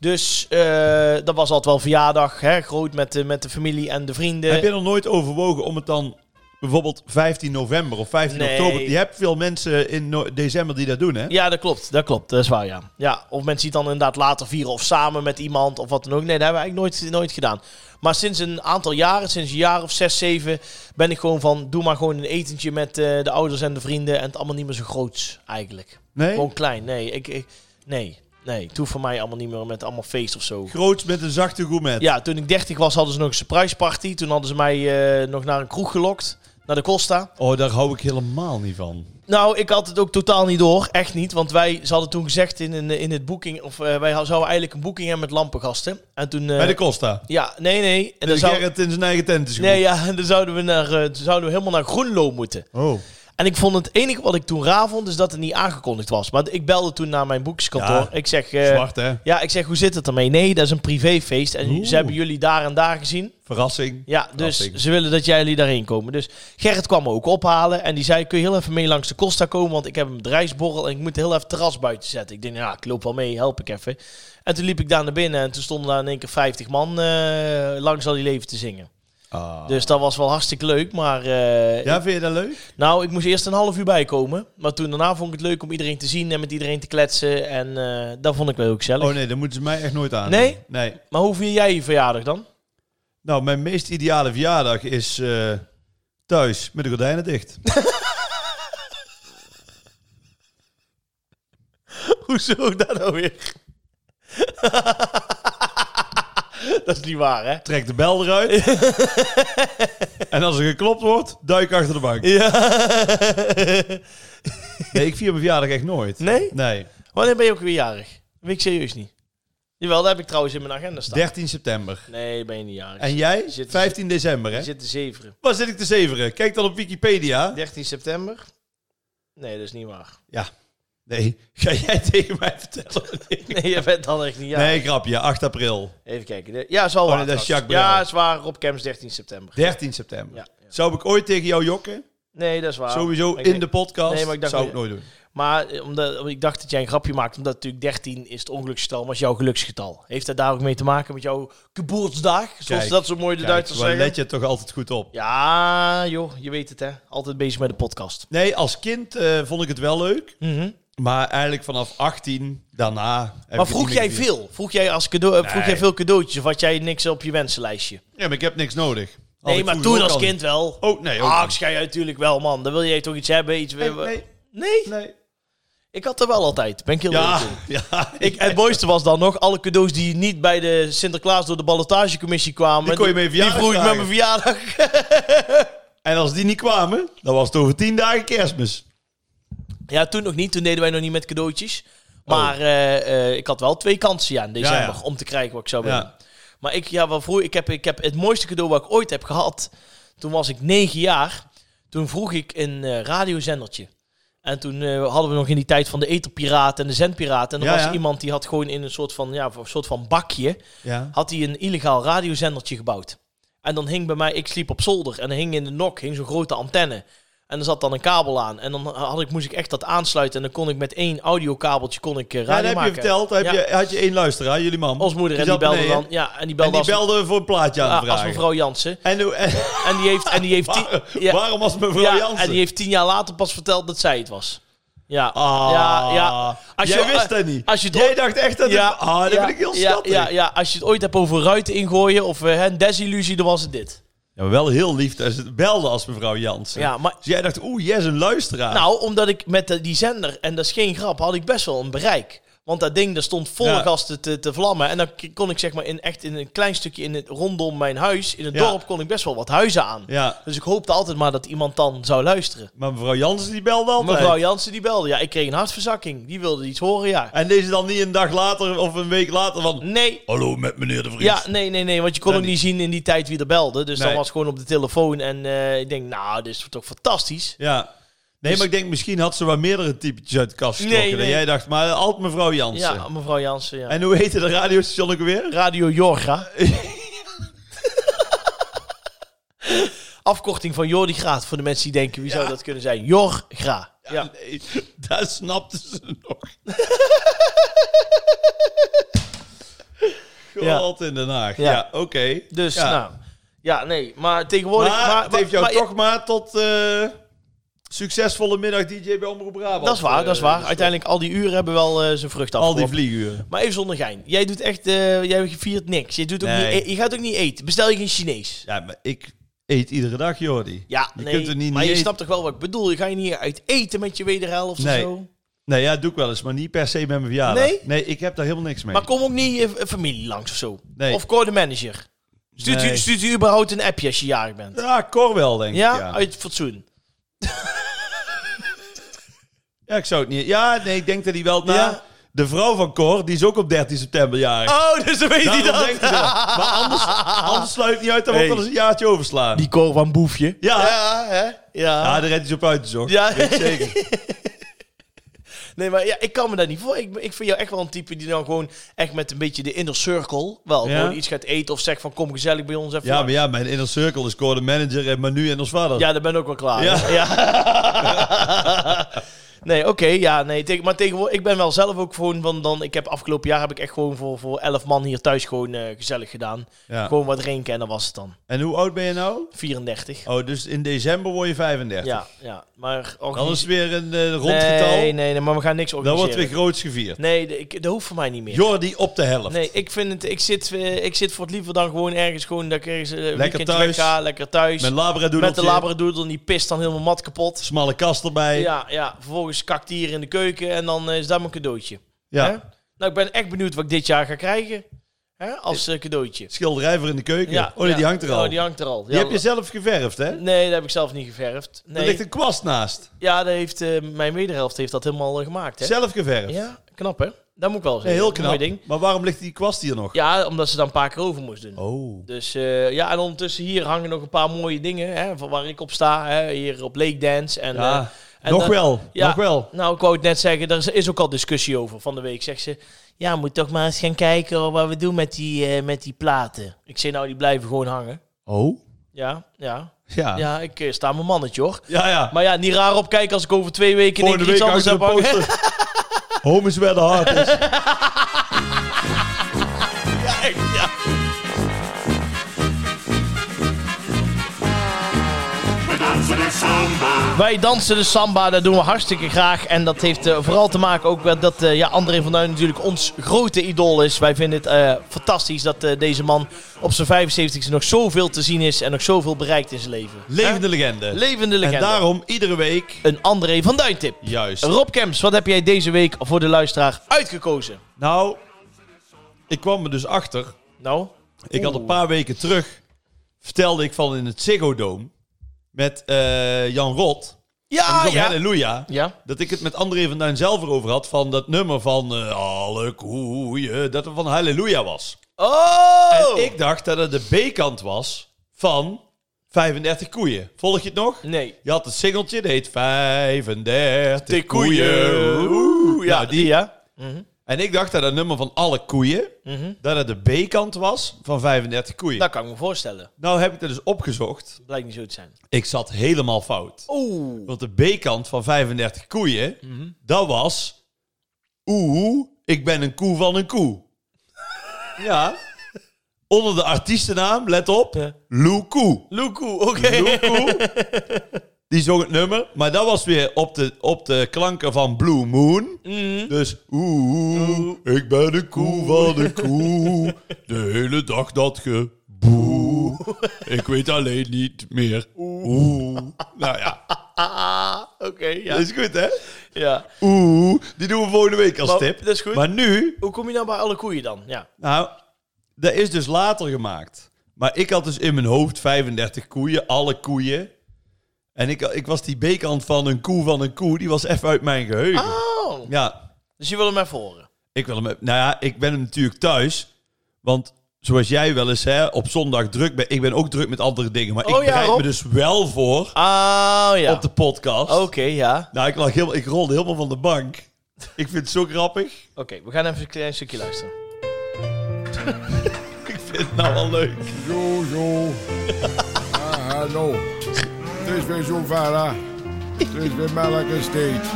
[SPEAKER 1] Dus eh, dat was altijd wel verjaardag, hè? groot met de, met de familie en de vrienden.
[SPEAKER 2] Heb je nog nooit overwogen om het dan bijvoorbeeld 15 november of 15
[SPEAKER 1] Nee.
[SPEAKER 2] oktober... Je hebt veel mensen in no- december die dat doen, hè?
[SPEAKER 1] Ja, dat klopt. Dat klopt. Dat is waar, ja. ja. Of mensen die het dan inderdaad later vieren of samen met iemand of wat dan ook. Nee, dat hebben we eigenlijk nooit, nooit gedaan. Maar sinds een aantal jaren, sinds een jaar of zes, zeven, ben ik gewoon van... Doe maar gewoon een etentje met eh, de ouders en de vrienden en het allemaal niet meer zo groots eigenlijk.
[SPEAKER 2] Nee?
[SPEAKER 1] Gewoon klein. Nee, ik, ik, nee, nee. Het hoeft voor mij allemaal niet meer met allemaal feest of zo.
[SPEAKER 2] Groots met een zachte gourmet.
[SPEAKER 1] Ja, toen ik 30 was hadden ze nog een surprise party. Toen hadden ze mij eh, nog naar een kroeg gelokt, naar de Costa.
[SPEAKER 2] Oh, daar hou ik helemaal niet van.
[SPEAKER 1] Nou, ik had het ook totaal niet door. Echt niet. Want wij, ze hadden toen gezegd in, in, in het boeking... Of eh, wij zouden eigenlijk een boeking hebben met lampengasten. En toen... eh,
[SPEAKER 2] Bij de Costa.
[SPEAKER 1] Ja, nee, nee. En dan
[SPEAKER 2] de
[SPEAKER 1] zou,
[SPEAKER 2] Gerrit in zijn eigen tent is
[SPEAKER 1] nee, ja, en dan zouden we, naar, eh, toen zouden we helemaal naar Groenlo moeten.
[SPEAKER 2] Oh.
[SPEAKER 1] En ik vond het enige wat ik toen raar vond... is dat het niet aangekondigd was. Maar ik belde toen naar mijn boekingskantoor.
[SPEAKER 2] Ja,
[SPEAKER 1] ik zeg... eh,
[SPEAKER 2] Zwart, hè?
[SPEAKER 1] ja, ik zeg, hoe zit het ermee? Nee, dat is een privéfeest. En
[SPEAKER 2] Oeh.
[SPEAKER 1] ze hebben jullie daar en daar gezien.
[SPEAKER 2] Verrassing.
[SPEAKER 1] Ja, dus
[SPEAKER 2] Verrassing.
[SPEAKER 1] ze willen dat jij jullie daarheen komen. Dus Gerrit kwam me ook ophalen en die zei: Kun je heel even mee langs de Costa komen? Want ik heb een bedrijfsborrel en ik moet heel even het terras buiten zetten. Ik denk, ja, ik loop wel mee, help ik even. En toen liep ik daar naar binnen en toen stonden daar in één keer 50 man eh, langs al die leven te zingen.
[SPEAKER 2] Ah.
[SPEAKER 1] Dus dat was wel hartstikke leuk. Maar eh,
[SPEAKER 2] Ja, vind je dat leuk?
[SPEAKER 1] nou, ik moest eerst een half uur bijkomen. Maar toen daarna vond ik het leuk om iedereen te zien en met iedereen te kletsen. En eh, dat vond ik wel ook zelf.
[SPEAKER 2] Oh nee, dan moeten ze mij echt nooit aan.
[SPEAKER 1] Nee?
[SPEAKER 2] Nee.
[SPEAKER 1] Maar hoe vier jij je verjaardag dan?
[SPEAKER 2] Nou, mijn meest ideale verjaardag is eh, thuis met de gordijnen dicht.
[SPEAKER 1] Hoezo dat nou weer? dat is niet waar, hè?
[SPEAKER 2] Trek de bel eruit. en als er geklopt wordt, duik achter de bank.
[SPEAKER 1] Ja.
[SPEAKER 2] Nee, ik vier mijn verjaardag echt nooit.
[SPEAKER 1] Nee?
[SPEAKER 2] Nee,
[SPEAKER 1] Wanneer ben je ook weer jarig? Dat weet ik serieus niet. Jawel, dat heb ik trouwens in mijn agenda staan.
[SPEAKER 2] 13 september.
[SPEAKER 1] Nee, ben je niet jarig.
[SPEAKER 2] En jij?
[SPEAKER 1] Zit-
[SPEAKER 2] 15 december,
[SPEAKER 1] Je
[SPEAKER 2] hè?
[SPEAKER 1] zit de zeveren.
[SPEAKER 2] Waar zit ik te zeveren? Kijk dan op Wikipedia.
[SPEAKER 1] 13 september? Nee, dat is niet waar.
[SPEAKER 2] Ja, Nee, ga jij tegen mij vertellen?
[SPEAKER 1] Nee, je bent dan echt niet. Ja.
[SPEAKER 2] Nee, grapje. 8 april.
[SPEAKER 1] Even kijken. De- Ja, zal wel.
[SPEAKER 2] nee, dat is Jacques Brel.
[SPEAKER 1] ja, is waar. Rob Camps 13 september.
[SPEAKER 2] 13 september.
[SPEAKER 1] Ja, ja.
[SPEAKER 2] Zou ik ooit tegen jou jokken?
[SPEAKER 1] Nee, dat is waar.
[SPEAKER 2] Sowieso
[SPEAKER 1] Maar ik
[SPEAKER 2] in
[SPEAKER 1] denk-
[SPEAKER 2] de podcast.
[SPEAKER 1] Nee, maar ik dacht-
[SPEAKER 2] zou ik nooit doen.
[SPEAKER 1] Maar eh, omdat, omdat ik dacht dat jij een grapje maakte, omdat natuurlijk 13 is het ongeluksgetal, maar is jouw geluksgetal. Heeft dat daar ook mee te maken met jouw geboortsdag? Zoals
[SPEAKER 2] Kijk,
[SPEAKER 1] dat zo mooi de
[SPEAKER 2] Kijk,
[SPEAKER 1] Duitsers
[SPEAKER 2] waar
[SPEAKER 1] zeggen.
[SPEAKER 2] let je toch altijd goed op.
[SPEAKER 1] Ja, joh, je weet het hè. Altijd bezig met de podcast.
[SPEAKER 2] Nee, als kind eh, vond ik het wel leuk.
[SPEAKER 1] Mhm.
[SPEAKER 2] Maar eigenlijk vanaf 18 daarna... heb ik
[SPEAKER 1] Maar
[SPEAKER 2] het
[SPEAKER 1] vroeg
[SPEAKER 2] niet meer
[SPEAKER 1] jij
[SPEAKER 2] gevierd.
[SPEAKER 1] veel? Vroeg jij, als cadeau, eh, vroeg
[SPEAKER 2] Nee.
[SPEAKER 1] jij veel cadeautjes of had jij niks op je wensenlijstje?
[SPEAKER 2] Ja, maar ik heb niks nodig. Had
[SPEAKER 1] Nee,
[SPEAKER 2] ik
[SPEAKER 1] maar
[SPEAKER 2] vroeger
[SPEAKER 1] toen
[SPEAKER 2] ook
[SPEAKER 1] als
[SPEAKER 2] al
[SPEAKER 1] kind wel.
[SPEAKER 2] niet. Oh, nee. ook
[SPEAKER 1] Ah, ik
[SPEAKER 2] niet.
[SPEAKER 1] schei natuurlijk wel, man. Dan wil jij toch iets hebben? Iets...
[SPEAKER 2] Nee, nee,
[SPEAKER 1] Nee?
[SPEAKER 2] nee.
[SPEAKER 1] ik had er wel altijd. Ben ik heel eerlijk in.
[SPEAKER 2] Ja, ja.
[SPEAKER 1] Ik, het mooiste was dan nog, alle cadeaus die niet bij de Sinterklaas door de ballotagecommissie kwamen.
[SPEAKER 2] Die kon je mee
[SPEAKER 1] Die
[SPEAKER 2] verjaardag
[SPEAKER 1] vroeg ik met
[SPEAKER 2] vragen.
[SPEAKER 1] mijn verjaardag.
[SPEAKER 2] En als die niet kwamen, dan was het over 10 dagen kerstmis.
[SPEAKER 1] Ja, toen nog niet. Toen deden wij nog niet met cadeautjes. Maar eh, eh, ik had wel twee kansen ja, in december
[SPEAKER 2] Oh. Ja, ja.
[SPEAKER 1] om te krijgen wat ik zou willen.
[SPEAKER 2] Ja.
[SPEAKER 1] Maar ik, ja, wat vroeg, ik, heb, ik heb het mooiste cadeau wat ik ooit heb gehad. Toen was ik negen jaar. Toen vroeg ik een eh, radiozendertje. En toen eh, hadden we nog in die tijd van de eterpiraten en de zendpiraten. En er
[SPEAKER 2] Ja,
[SPEAKER 1] was
[SPEAKER 2] ja.
[SPEAKER 1] iemand die had gewoon in een soort van, ja, een soort van bakje...
[SPEAKER 2] Ja.
[SPEAKER 1] had hij een illegaal radiozendertje gebouwd. En dan hing bij mij, ik sliep op zolder en er hing in de nok hing zo'n grote antenne. En er zat dan een kabel aan. En dan had ik, moest ik echt dat aansluiten. En dan kon ik met één audiokabeltje kon ik eh,
[SPEAKER 2] Ja,
[SPEAKER 1] radio
[SPEAKER 2] dat heb je
[SPEAKER 1] maken.
[SPEAKER 2] verteld. Daar heb
[SPEAKER 1] Ja.
[SPEAKER 2] je, had je één luisteraar, jullie man.
[SPEAKER 1] Ons moeder, en die
[SPEAKER 2] zat
[SPEAKER 1] belde
[SPEAKER 2] beneden.
[SPEAKER 1] dan. Ja, en die
[SPEAKER 2] En
[SPEAKER 1] belde
[SPEAKER 2] die
[SPEAKER 1] als,
[SPEAKER 2] belde voor een plaatje aan
[SPEAKER 1] ja,
[SPEAKER 2] te
[SPEAKER 1] als
[SPEAKER 2] vragen.
[SPEAKER 1] mevrouw Jansen.
[SPEAKER 2] En, hoe- en-
[SPEAKER 1] En die heeft, en die heeft tien, ja,
[SPEAKER 2] waarom was mevrouw
[SPEAKER 1] ja,
[SPEAKER 2] Jansen?
[SPEAKER 1] en die heeft tien jaar later pas verteld dat zij het was. Ja,
[SPEAKER 2] Ah,
[SPEAKER 1] ja, ja. Als
[SPEAKER 2] jij
[SPEAKER 1] je-
[SPEAKER 2] wist
[SPEAKER 1] eh,
[SPEAKER 2] dat niet.
[SPEAKER 1] als je het
[SPEAKER 2] jij
[SPEAKER 1] ooit-
[SPEAKER 2] dacht echt dat...
[SPEAKER 1] ja,
[SPEAKER 2] het, ah, dat
[SPEAKER 1] ja,
[SPEAKER 2] vind ik heel
[SPEAKER 1] ja,
[SPEAKER 2] schattig.
[SPEAKER 1] Ja, ja, als je het ooit hebt over ruiten ingooien of eh, een desillusie, dan was het dit.
[SPEAKER 2] Ja, maar wel heel lief dat ze het belde als mevrouw Jansen.
[SPEAKER 1] Ja, maar
[SPEAKER 2] Dus jij dacht, oeh, jij is een luisteraar.
[SPEAKER 1] Nou, omdat ik met eh, die zender, en dat is geen grap, had ik best wel een bereik. Want dat ding, dat stond vol
[SPEAKER 2] Ja.
[SPEAKER 1] gas te- te, te vlammen. En dan k- kon ik zeg maar in, echt in een klein stukje in het, rondom mijn huis, in het
[SPEAKER 2] Ja.
[SPEAKER 1] dorp, kon ik best wel wat huizen aan.
[SPEAKER 2] Ja,
[SPEAKER 1] Dus ik hoopte altijd maar dat iemand dan zou luisteren.
[SPEAKER 2] maar mevrouw Jansen die belde altijd.
[SPEAKER 1] Mevrouw Jansen die belde. Ja, ik kreeg een hartverzakking. Die wilde iets horen, ja.
[SPEAKER 2] En deze dan niet een dag later of een week later van...
[SPEAKER 1] Nee.
[SPEAKER 2] Hallo, met meneer de Vries.
[SPEAKER 1] Ja, nee, nee, nee. Want je kon
[SPEAKER 2] Nee,
[SPEAKER 1] ook niet zien in die tijd wie er belde. Dus dan
[SPEAKER 2] Nee.
[SPEAKER 1] was het gewoon op de telefoon. En eh, ik denk, nou, dit is toch fantastisch.
[SPEAKER 2] Ja. Nee, maar ik denk misschien had ze wel meerdere typetjes uit de kast getrokken.
[SPEAKER 1] Dus- Nee, nee.
[SPEAKER 2] En jij dacht, maar altijd mevrouw Jansen.
[SPEAKER 1] Ja, mevrouw Jansen, ja.
[SPEAKER 2] En hoe heette de radiostation ook weer?
[SPEAKER 1] Radio Jorga. Afkorting van Jordi Graat voor de mensen die denken, wie zou
[SPEAKER 2] Ja.
[SPEAKER 1] dat kunnen zijn? Jorgra. Ja.
[SPEAKER 2] Nee, dat snapten ze nog.
[SPEAKER 1] Ja.
[SPEAKER 2] God in Den Haag.
[SPEAKER 1] Ja.
[SPEAKER 2] Ja, oké.
[SPEAKER 1] Dus,
[SPEAKER 2] Ja.
[SPEAKER 1] nou. Ja, nee. Maar tegenwoordig...
[SPEAKER 2] Maar,
[SPEAKER 1] Maar,
[SPEAKER 2] het heeft jou
[SPEAKER 1] maar-
[SPEAKER 2] toch maar tot eh, succesvolle middag DJ bij Omroep Brabant.
[SPEAKER 1] Dat is waar,
[SPEAKER 2] eh,
[SPEAKER 1] dat is waar.
[SPEAKER 2] gestopt.
[SPEAKER 1] Uiteindelijk, al die uren hebben wel eh, zijn vrucht
[SPEAKER 2] Al die
[SPEAKER 1] afgeworpen.
[SPEAKER 2] vlieguren.
[SPEAKER 1] Maar even zonder gein. Jij doet echt... eh, jij viert niks. Je, doet ook
[SPEAKER 2] Nee.
[SPEAKER 1] niet, e- je gaat ook niet eten. Bestel je geen Chinees.
[SPEAKER 2] Ja, maar ik eet iedere dag, Jordi.
[SPEAKER 1] Ja,
[SPEAKER 2] Je
[SPEAKER 1] nee.
[SPEAKER 2] kunt er niet
[SPEAKER 1] maar je
[SPEAKER 2] niet eten.
[SPEAKER 1] snapt toch wel wat ik bedoel? Je gaat niet uit eten met je wederhelft
[SPEAKER 2] Nee.
[SPEAKER 1] of zo?
[SPEAKER 2] Nee, ja, doe ik wel eens, maar niet per se met mijn verjaardag.
[SPEAKER 1] Nee?
[SPEAKER 2] ik heb daar helemaal niks mee.
[SPEAKER 1] Maar kom ook niet je familie langs of zo.
[SPEAKER 2] Nee.
[SPEAKER 1] Of call de manager. Stuurt, u,
[SPEAKER 2] Nee.
[SPEAKER 1] stuurt u überhaupt een appje als je jarig bent?
[SPEAKER 2] Ja, Cor wel, denk
[SPEAKER 1] Ja, Oh,
[SPEAKER 2] ik. Ja.
[SPEAKER 1] uit fatsoen.
[SPEAKER 2] Ja, ik zou het niet... Ja, nee, ik denk dat hij wel... Nou,
[SPEAKER 1] Ja.
[SPEAKER 2] De vrouw van Cor, die is ook op 13 september jarig.
[SPEAKER 1] Oh, dus dan weet hij
[SPEAKER 2] Daarom
[SPEAKER 1] dat.
[SPEAKER 2] denk ik dat. Maar anders, anders sluit het niet uit dat we
[SPEAKER 1] Hey.
[SPEAKER 2] ook wel eens een jaartje overslaan.
[SPEAKER 1] Die Cor van Boefje.
[SPEAKER 2] Ja.
[SPEAKER 1] Ja, hè?
[SPEAKER 2] Ja,
[SPEAKER 1] Ja.
[SPEAKER 2] daar redt hij zo op uit, dus hoor.
[SPEAKER 1] Ja.
[SPEAKER 2] Weet ik zeker.
[SPEAKER 1] Nee, maar ja, ik kan me daar niet voor. Ik, ik vind jou echt wel een type die dan gewoon echt met een beetje de inner circle... wel
[SPEAKER 2] Ja.
[SPEAKER 1] gewoon iets gaat eten of zegt van kom gezellig bij ons even.
[SPEAKER 2] Ja, maar
[SPEAKER 1] langs.
[SPEAKER 2] ja, mijn inner circle is Cor de manager en Manu en ons vader.
[SPEAKER 1] ja, daar ben ik ook wel klaar.
[SPEAKER 2] Ja.
[SPEAKER 1] hè? nee, oké, ja, nee. Tegen- maar tegenwoordig, ik ben wel zelf ook gewoon van dan... Ik heb afgelopen jaar heb ik echt gewoon voor, voor elf man hier thuis gewoon eh, gezellig gedaan.
[SPEAKER 2] Ja.
[SPEAKER 1] Gewoon wat drinken en dan was het dan.
[SPEAKER 2] En hoe oud ben je nou?
[SPEAKER 1] 34.
[SPEAKER 2] Oh, dus in december word je 35.
[SPEAKER 1] Ja, ja. Maar
[SPEAKER 2] Dan is
[SPEAKER 1] organis-
[SPEAKER 2] het weer een eh, rond getal.
[SPEAKER 1] nee, nee, nee, maar we gaan niks
[SPEAKER 2] Dan
[SPEAKER 1] organiseren.
[SPEAKER 2] wordt weer groots gevierd.
[SPEAKER 1] Nee, de- ik, dat hoeft voor mij niet meer.
[SPEAKER 2] Jordi op de helft.
[SPEAKER 1] Nee, ik vind het, ik zit, eh, ik zit voor het liever dan gewoon ergens gewoon dat ik ergens eh, een
[SPEAKER 2] Lekker
[SPEAKER 1] weekendje
[SPEAKER 2] thuis.
[SPEAKER 1] weg ga, lekker thuis.
[SPEAKER 2] Met
[SPEAKER 1] Met,
[SPEAKER 2] labradoedeltje.
[SPEAKER 1] de labradoodle, die pist dan helemaal mat kapot.
[SPEAKER 2] Smalle kast erbij.
[SPEAKER 1] Ja, ja, vervolgens kakt die hier in de keuken en dan eh, is dat mijn cadeautje.
[SPEAKER 2] Ja.
[SPEAKER 1] Hè? Nou, ik ben echt benieuwd wat ik dit jaar ga krijgen hè? als eh, cadeautje.
[SPEAKER 2] Schilderij voor in de keuken.
[SPEAKER 1] Ja,
[SPEAKER 2] oh nee,
[SPEAKER 1] ja.
[SPEAKER 2] die hangt er al.
[SPEAKER 1] Oh, die
[SPEAKER 2] die
[SPEAKER 1] hangt er al. Ja,
[SPEAKER 2] heb je zelf geverfd, hè?
[SPEAKER 1] Nee, dat heb ik zelf niet geverfd.
[SPEAKER 2] Er ligt
[SPEAKER 1] Nee,
[SPEAKER 2] een kwast naast.
[SPEAKER 1] ja, dat heeft, eh, mijn wederhelft heeft dat helemaal eh, gemaakt. Hè?
[SPEAKER 2] Zelf geverfd.
[SPEAKER 1] Ja, knap hè? Dat moet ik wel zeggen.
[SPEAKER 2] Nee, heel knap.
[SPEAKER 1] Mooi ding.
[SPEAKER 2] Maar waarom ligt die kwast hier nog?
[SPEAKER 1] Ja, omdat ze dan een paar keer over moest doen.
[SPEAKER 2] Oh.
[SPEAKER 1] Dus eh, ja, en ondertussen hier hangen nog een paar mooie dingen hè, van waar ik op sta. Hè, hier op Lake Dance en,
[SPEAKER 2] Ja.
[SPEAKER 1] eh, En
[SPEAKER 2] nog
[SPEAKER 1] dan-
[SPEAKER 2] wel,
[SPEAKER 1] ja.
[SPEAKER 2] nog wel.
[SPEAKER 1] Nou, ik wou het net zeggen, daar is- is ook al discussie over van de week. Zegt ze, ja, moet toch maar eens gaan kijken wat we doen met die, eh, met die platen. Ik zei, nou, die blijven gewoon hangen.
[SPEAKER 2] Oh?
[SPEAKER 1] Ja, ja.
[SPEAKER 2] Ja. Ja,
[SPEAKER 1] Ja, ik eh, sta mijn mannetje, hoor.
[SPEAKER 2] ja.
[SPEAKER 1] Maar ja, niet raar opkijken als ik over twee weken in één
[SPEAKER 2] Volgende
[SPEAKER 1] keer
[SPEAKER 2] week
[SPEAKER 1] iets
[SPEAKER 2] hangt
[SPEAKER 1] anders
[SPEAKER 2] er een
[SPEAKER 1] heb hangen.
[SPEAKER 2] poster. Home is where the heart is.
[SPEAKER 1] Ja, echt, ja. Wij dansen de samba, dat doen we hartstikke graag. En dat heeft eh, vooral te maken ook met dat eh, ja, André van Duin natuurlijk ons grote idool is. Wij vinden het eh, fantastisch dat eh, deze man op zijn 75ste nog zoveel te zien is en nog zoveel bereikt in zijn leven.
[SPEAKER 2] Levende legende.
[SPEAKER 1] Levende legende.
[SPEAKER 2] En daarom iedere week...
[SPEAKER 1] Een André van Duin tip.
[SPEAKER 2] Juist.
[SPEAKER 1] Rob Kemps, wat heb jij deze week voor de luisteraar uitgekozen?
[SPEAKER 2] Nou, ik kwam er dus achter.
[SPEAKER 1] Nou,
[SPEAKER 2] Ik had een
[SPEAKER 1] Oeh.
[SPEAKER 2] paar weken terug... vertelde ik van in het Ziggo Dome... met eh, Jan Rot.
[SPEAKER 1] ja,
[SPEAKER 2] Ah,
[SPEAKER 1] ja.
[SPEAKER 2] Halleluja.
[SPEAKER 1] Ja,
[SPEAKER 2] Dat ik het met André van Duin zelf erover had... van dat nummer van... eh, alle koeien... dat het van Halleluja was.
[SPEAKER 1] Oh!
[SPEAKER 2] En ik dacht dat het de B-kant was... van 35 koeien. Volg je het nog?
[SPEAKER 1] Nee.
[SPEAKER 2] Je had het singeltje, dat heet 35 koeien.
[SPEAKER 1] koeien. Oeh, ja, Mhm.
[SPEAKER 2] Nou, die,
[SPEAKER 1] ja.
[SPEAKER 2] En ik dacht dat het nummer van alle koeien,
[SPEAKER 1] Mhm.
[SPEAKER 2] dat het de B-kant was van 35 koeien.
[SPEAKER 1] Dat kan ik me voorstellen.
[SPEAKER 2] Nou heb ik dat dus opgezocht.
[SPEAKER 1] Blijkt niet zo te zijn.
[SPEAKER 2] Ik zat helemaal fout.
[SPEAKER 1] Oeh.
[SPEAKER 2] Want de B-kant van 35 koeien, dat was... Oeh, ik ben een koe van een koe. ja. Onder de artiestennaam, let op,
[SPEAKER 1] Ja.
[SPEAKER 2] Lou Koe.
[SPEAKER 1] Loekoe, oké.
[SPEAKER 2] Loekoe. Die zong het nummer, maar dat was weer op de, op de klanken van Blue Moon. Dus oeh, ik ben de koe van de koe. De hele dag dat ge boe. Ik weet alleen niet meer oeh. Nou ja,
[SPEAKER 1] Ah, oké, ja.
[SPEAKER 2] dat is goed hè?
[SPEAKER 1] ja.
[SPEAKER 2] Oeh, die doen we volgende week als
[SPEAKER 1] Maar-
[SPEAKER 2] tip.
[SPEAKER 1] dat is goed.
[SPEAKER 2] Maar nu,
[SPEAKER 1] Hoe kom je nou bij alle koeien dan? Ja.
[SPEAKER 2] nou, dat is dus later gemaakt. Maar ik had dus in mijn hoofd 35 koeien, alle koeien. En ik, ik was die bekant van een koe van een koe, die was even uit mijn geheugen.
[SPEAKER 1] Oh.
[SPEAKER 2] Ja,
[SPEAKER 1] Dus je wil hem even horen.
[SPEAKER 2] ik wil hem. Nou ja, ik ben hem natuurlijk thuis. Want zoals jij wel eens hè, op zondag druk bent. Ik ben ook druk met andere dingen. Maar
[SPEAKER 1] Oh
[SPEAKER 2] ik
[SPEAKER 1] ja,
[SPEAKER 2] bereid
[SPEAKER 1] Rob.
[SPEAKER 2] me dus wel voor
[SPEAKER 1] Ah, ja.
[SPEAKER 2] op de podcast.
[SPEAKER 1] Oké, ja.
[SPEAKER 2] Nou, ik, lag helemaal, ik rolde helemaal van de bank. Ik vind het zo grappig.
[SPEAKER 1] Oké, we gaan even een klein stukje luisteren.
[SPEAKER 2] Ik vind het nou wel leuk.
[SPEAKER 4] Yo, yo. Ah, hallo. Het is weer zover, hè. Het is weer melk steeds.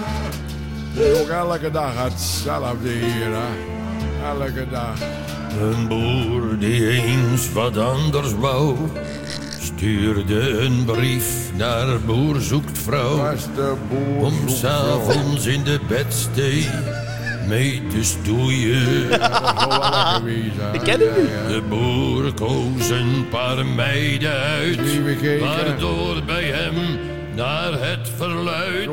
[SPEAKER 4] Het is ook elke dag hetzelfde hier, hè. Elke dag.
[SPEAKER 5] Een boer die eens wat anders wou, stuurde een brief naar boer zoekt vrouw.
[SPEAKER 4] Beste boer.
[SPEAKER 5] Om
[SPEAKER 4] zoekt
[SPEAKER 5] s'avonds in de bedstee mee dus te stoeien.
[SPEAKER 4] vrouw. Dat is wel lekker geweest, hè.
[SPEAKER 1] Ik ken hem niet.
[SPEAKER 4] Ja, ja.
[SPEAKER 5] De boer koos een paar meiden uit,
[SPEAKER 4] Die we keken.
[SPEAKER 5] waardoor bij hem naar het verluid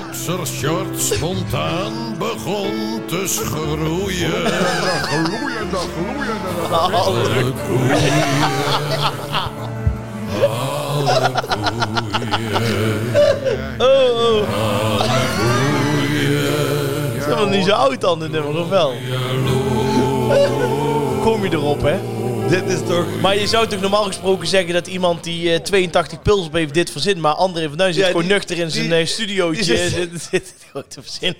[SPEAKER 5] boxershort spontaan begon te schroeien.
[SPEAKER 4] Dat gloeiende, gloeiende. dat is-
[SPEAKER 5] Alle koeien. Alle koeien.
[SPEAKER 1] Het is helemaal niet zo oud dan, dit nummer, of wel? Kom je erop, hè?
[SPEAKER 2] Dit is toch.
[SPEAKER 1] Maar je zou toch normaal gesproken zeggen dat iemand die eh, 82 pils heeft dit verzint, maar André van Duin zit
[SPEAKER 2] Ja,
[SPEAKER 1] gewoon
[SPEAKER 2] die-
[SPEAKER 1] nuchter in zijn
[SPEAKER 2] die-
[SPEAKER 1] eh, studiootje.
[SPEAKER 2] die
[SPEAKER 1] Zit,
[SPEAKER 2] zit-
[SPEAKER 1] zit, zit gewoon te verzinnen.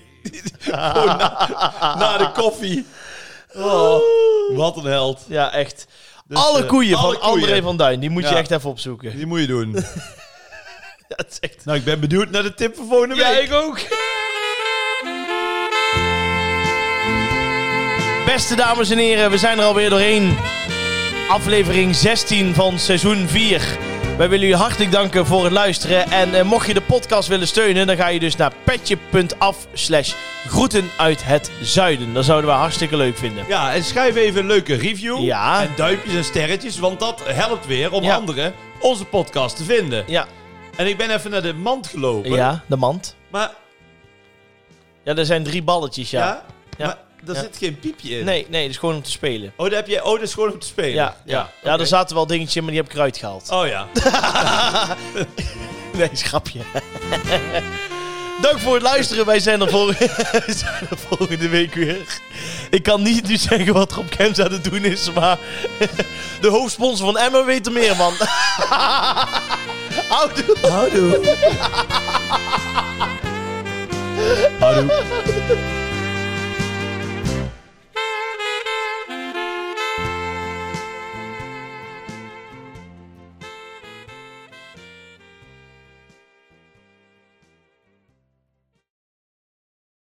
[SPEAKER 2] Na de koffie. Oh, wat een held.
[SPEAKER 1] Ja, echt. Dus, alle
[SPEAKER 2] eh,
[SPEAKER 1] koeien
[SPEAKER 2] alle
[SPEAKER 1] van André
[SPEAKER 2] koeien.
[SPEAKER 1] van Duin, die moet je
[SPEAKER 2] Ja.
[SPEAKER 1] echt even opzoeken.
[SPEAKER 2] Die moet je doen.
[SPEAKER 1] Ja, het is echt...
[SPEAKER 2] Nou, ik ben benieuwd naar de tip van volgende week.
[SPEAKER 1] ja ik ook. Beste dames en heren, we zijn er alweer doorheen. Aflevering 16 van seizoen 4. Wij willen jullie hartelijk danken voor het luisteren. En eh, mocht je de podcast willen steunen, dan ga je dus naar petje.af slash groeten uit het zuiden. Dat zouden we hartstikke leuk vinden.
[SPEAKER 2] Ja, en schrijf even een leuke review.
[SPEAKER 1] Ja.
[SPEAKER 2] En duimpjes en sterretjes, want dat helpt weer om
[SPEAKER 1] Ja.
[SPEAKER 2] anderen onze podcast te vinden.
[SPEAKER 1] Ja,
[SPEAKER 2] En ik ben even naar de mand gelopen.
[SPEAKER 1] ja de mand.
[SPEAKER 2] Maar,
[SPEAKER 1] Ja, er zijn drie balletjes,
[SPEAKER 2] ja.
[SPEAKER 1] ja. Ja.
[SPEAKER 2] Maar, daar
[SPEAKER 1] Ja.
[SPEAKER 2] zit geen piepje in.
[SPEAKER 1] Nee, nee, dat is gewoon om te spelen.
[SPEAKER 2] Oh, daar heb je, oh, dat is gewoon om te spelen.
[SPEAKER 1] Ja, ja. ja
[SPEAKER 2] oké.
[SPEAKER 1] er zaten wel dingetjes in, maar die heb ik eruit gehaald.
[SPEAKER 2] Oh ja.
[SPEAKER 1] Nee, schrapje. Dank voor het luisteren. Wij zijn er, vol- Wij zijn er volgende week weer. Ik kan niet nu zeggen wat Rob Kems aan het doen is, maar de hoofdsponsor van Emma weet er meer, man. Houdoe.
[SPEAKER 2] Houdoe. Houdoe.